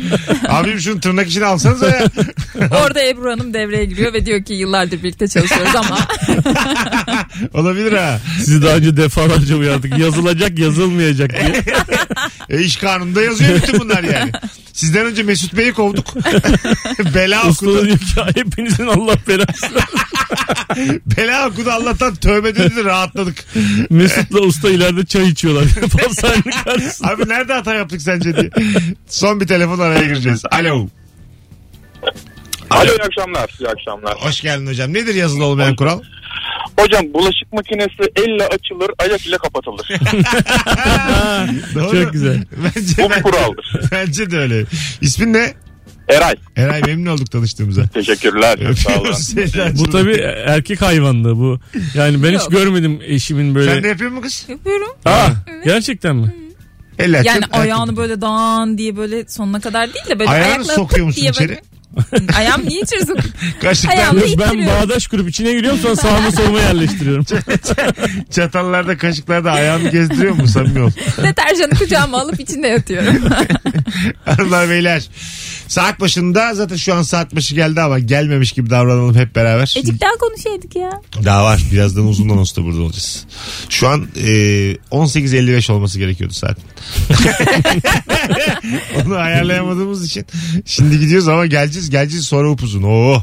Speaker 2: Abim şunu tırnak içine alsanıza ya.
Speaker 3: Orada Ebru Hanım devreye giriyor ve diyor ki yıllardır birlikte çalışıyoruz ama
Speaker 2: Olabilir ha.
Speaker 4: Sizi daha önce defalarca uyardık. Yazılacak yazılmayacak diye.
Speaker 2: E iş kanununda yazıyor bütün bunlar yani. Sizden önce Mesut Bey'i kovduk. bela
Speaker 4: Usta da
Speaker 2: okudu.
Speaker 4: diyor ki hepinizin Allah belasını.
Speaker 2: Bela okudu Allah'tan tövbe dedi rahatladık.
Speaker 4: Mesut'la usta ileride çay içiyorlar. Pastanenin karşısında.
Speaker 2: Abi nerede hata yaptık sence diye. Son bir telefon araya gireceğiz. Alo.
Speaker 8: Alo iyi akşamlar. İyi akşamlar.
Speaker 2: Hoş geldin hocam. Nedir yazılı olmayan kural?
Speaker 8: Hocam bulaşık makinesi elle açılır ayak ile kapatılır.
Speaker 2: Doğru.
Speaker 4: Çok güzel.
Speaker 2: Bence,
Speaker 8: Bu bir
Speaker 2: ben-
Speaker 8: kuraldır.
Speaker 2: bence de öyle. İsmin ne?
Speaker 8: Eray
Speaker 2: Eray memnun olduk tanıştığımıza.
Speaker 8: teşekkürler. Sağ olun.
Speaker 2: Öpüyoruz seni.
Speaker 4: Bu tabii erkek hayvanlığı bu. Yani ben hiç
Speaker 3: Yok.
Speaker 4: görmedim eşimin böyle.
Speaker 2: Sen de yapıyor musun kız?
Speaker 3: yapıyorum.
Speaker 4: Aa, gerçekten mi?
Speaker 2: Elle
Speaker 3: Yani
Speaker 2: açıyorum,
Speaker 3: ayağını böyle dağın diye böyle sonuna kadar değil de böyle
Speaker 2: Ayağını
Speaker 3: ayakla
Speaker 2: sokuyor musun
Speaker 3: diye
Speaker 2: içeri?
Speaker 3: böyle Ayağım niye çizik?
Speaker 2: Kaşıklar
Speaker 3: Ayağım-
Speaker 4: Yok, ben
Speaker 3: İttiriyorum.
Speaker 4: bağdaş kurup içine giriyorum sonra sağımı soluma yerleştiriyorum.
Speaker 2: çatallarda kaşıklarda ayağını gezdiriyor mu samimi ol.
Speaker 3: Deterjanı kucağıma alıp içinde yatıyorum.
Speaker 2: Hanımlar beyler. Saat başında zaten şu an saat başı geldi ama gelmemiş gibi davranalım hep beraber.
Speaker 3: Ecik daha konuşaydık ya.
Speaker 2: Daha var. Birazdan uzun anonsta burada olacağız. Şu an e, 18.55 olması gerekiyordu saat. Onu ayarlayamadığımız için. Şimdi gidiyoruz ama geleceğiz. Geleceğiz sonra upuzun. Oo.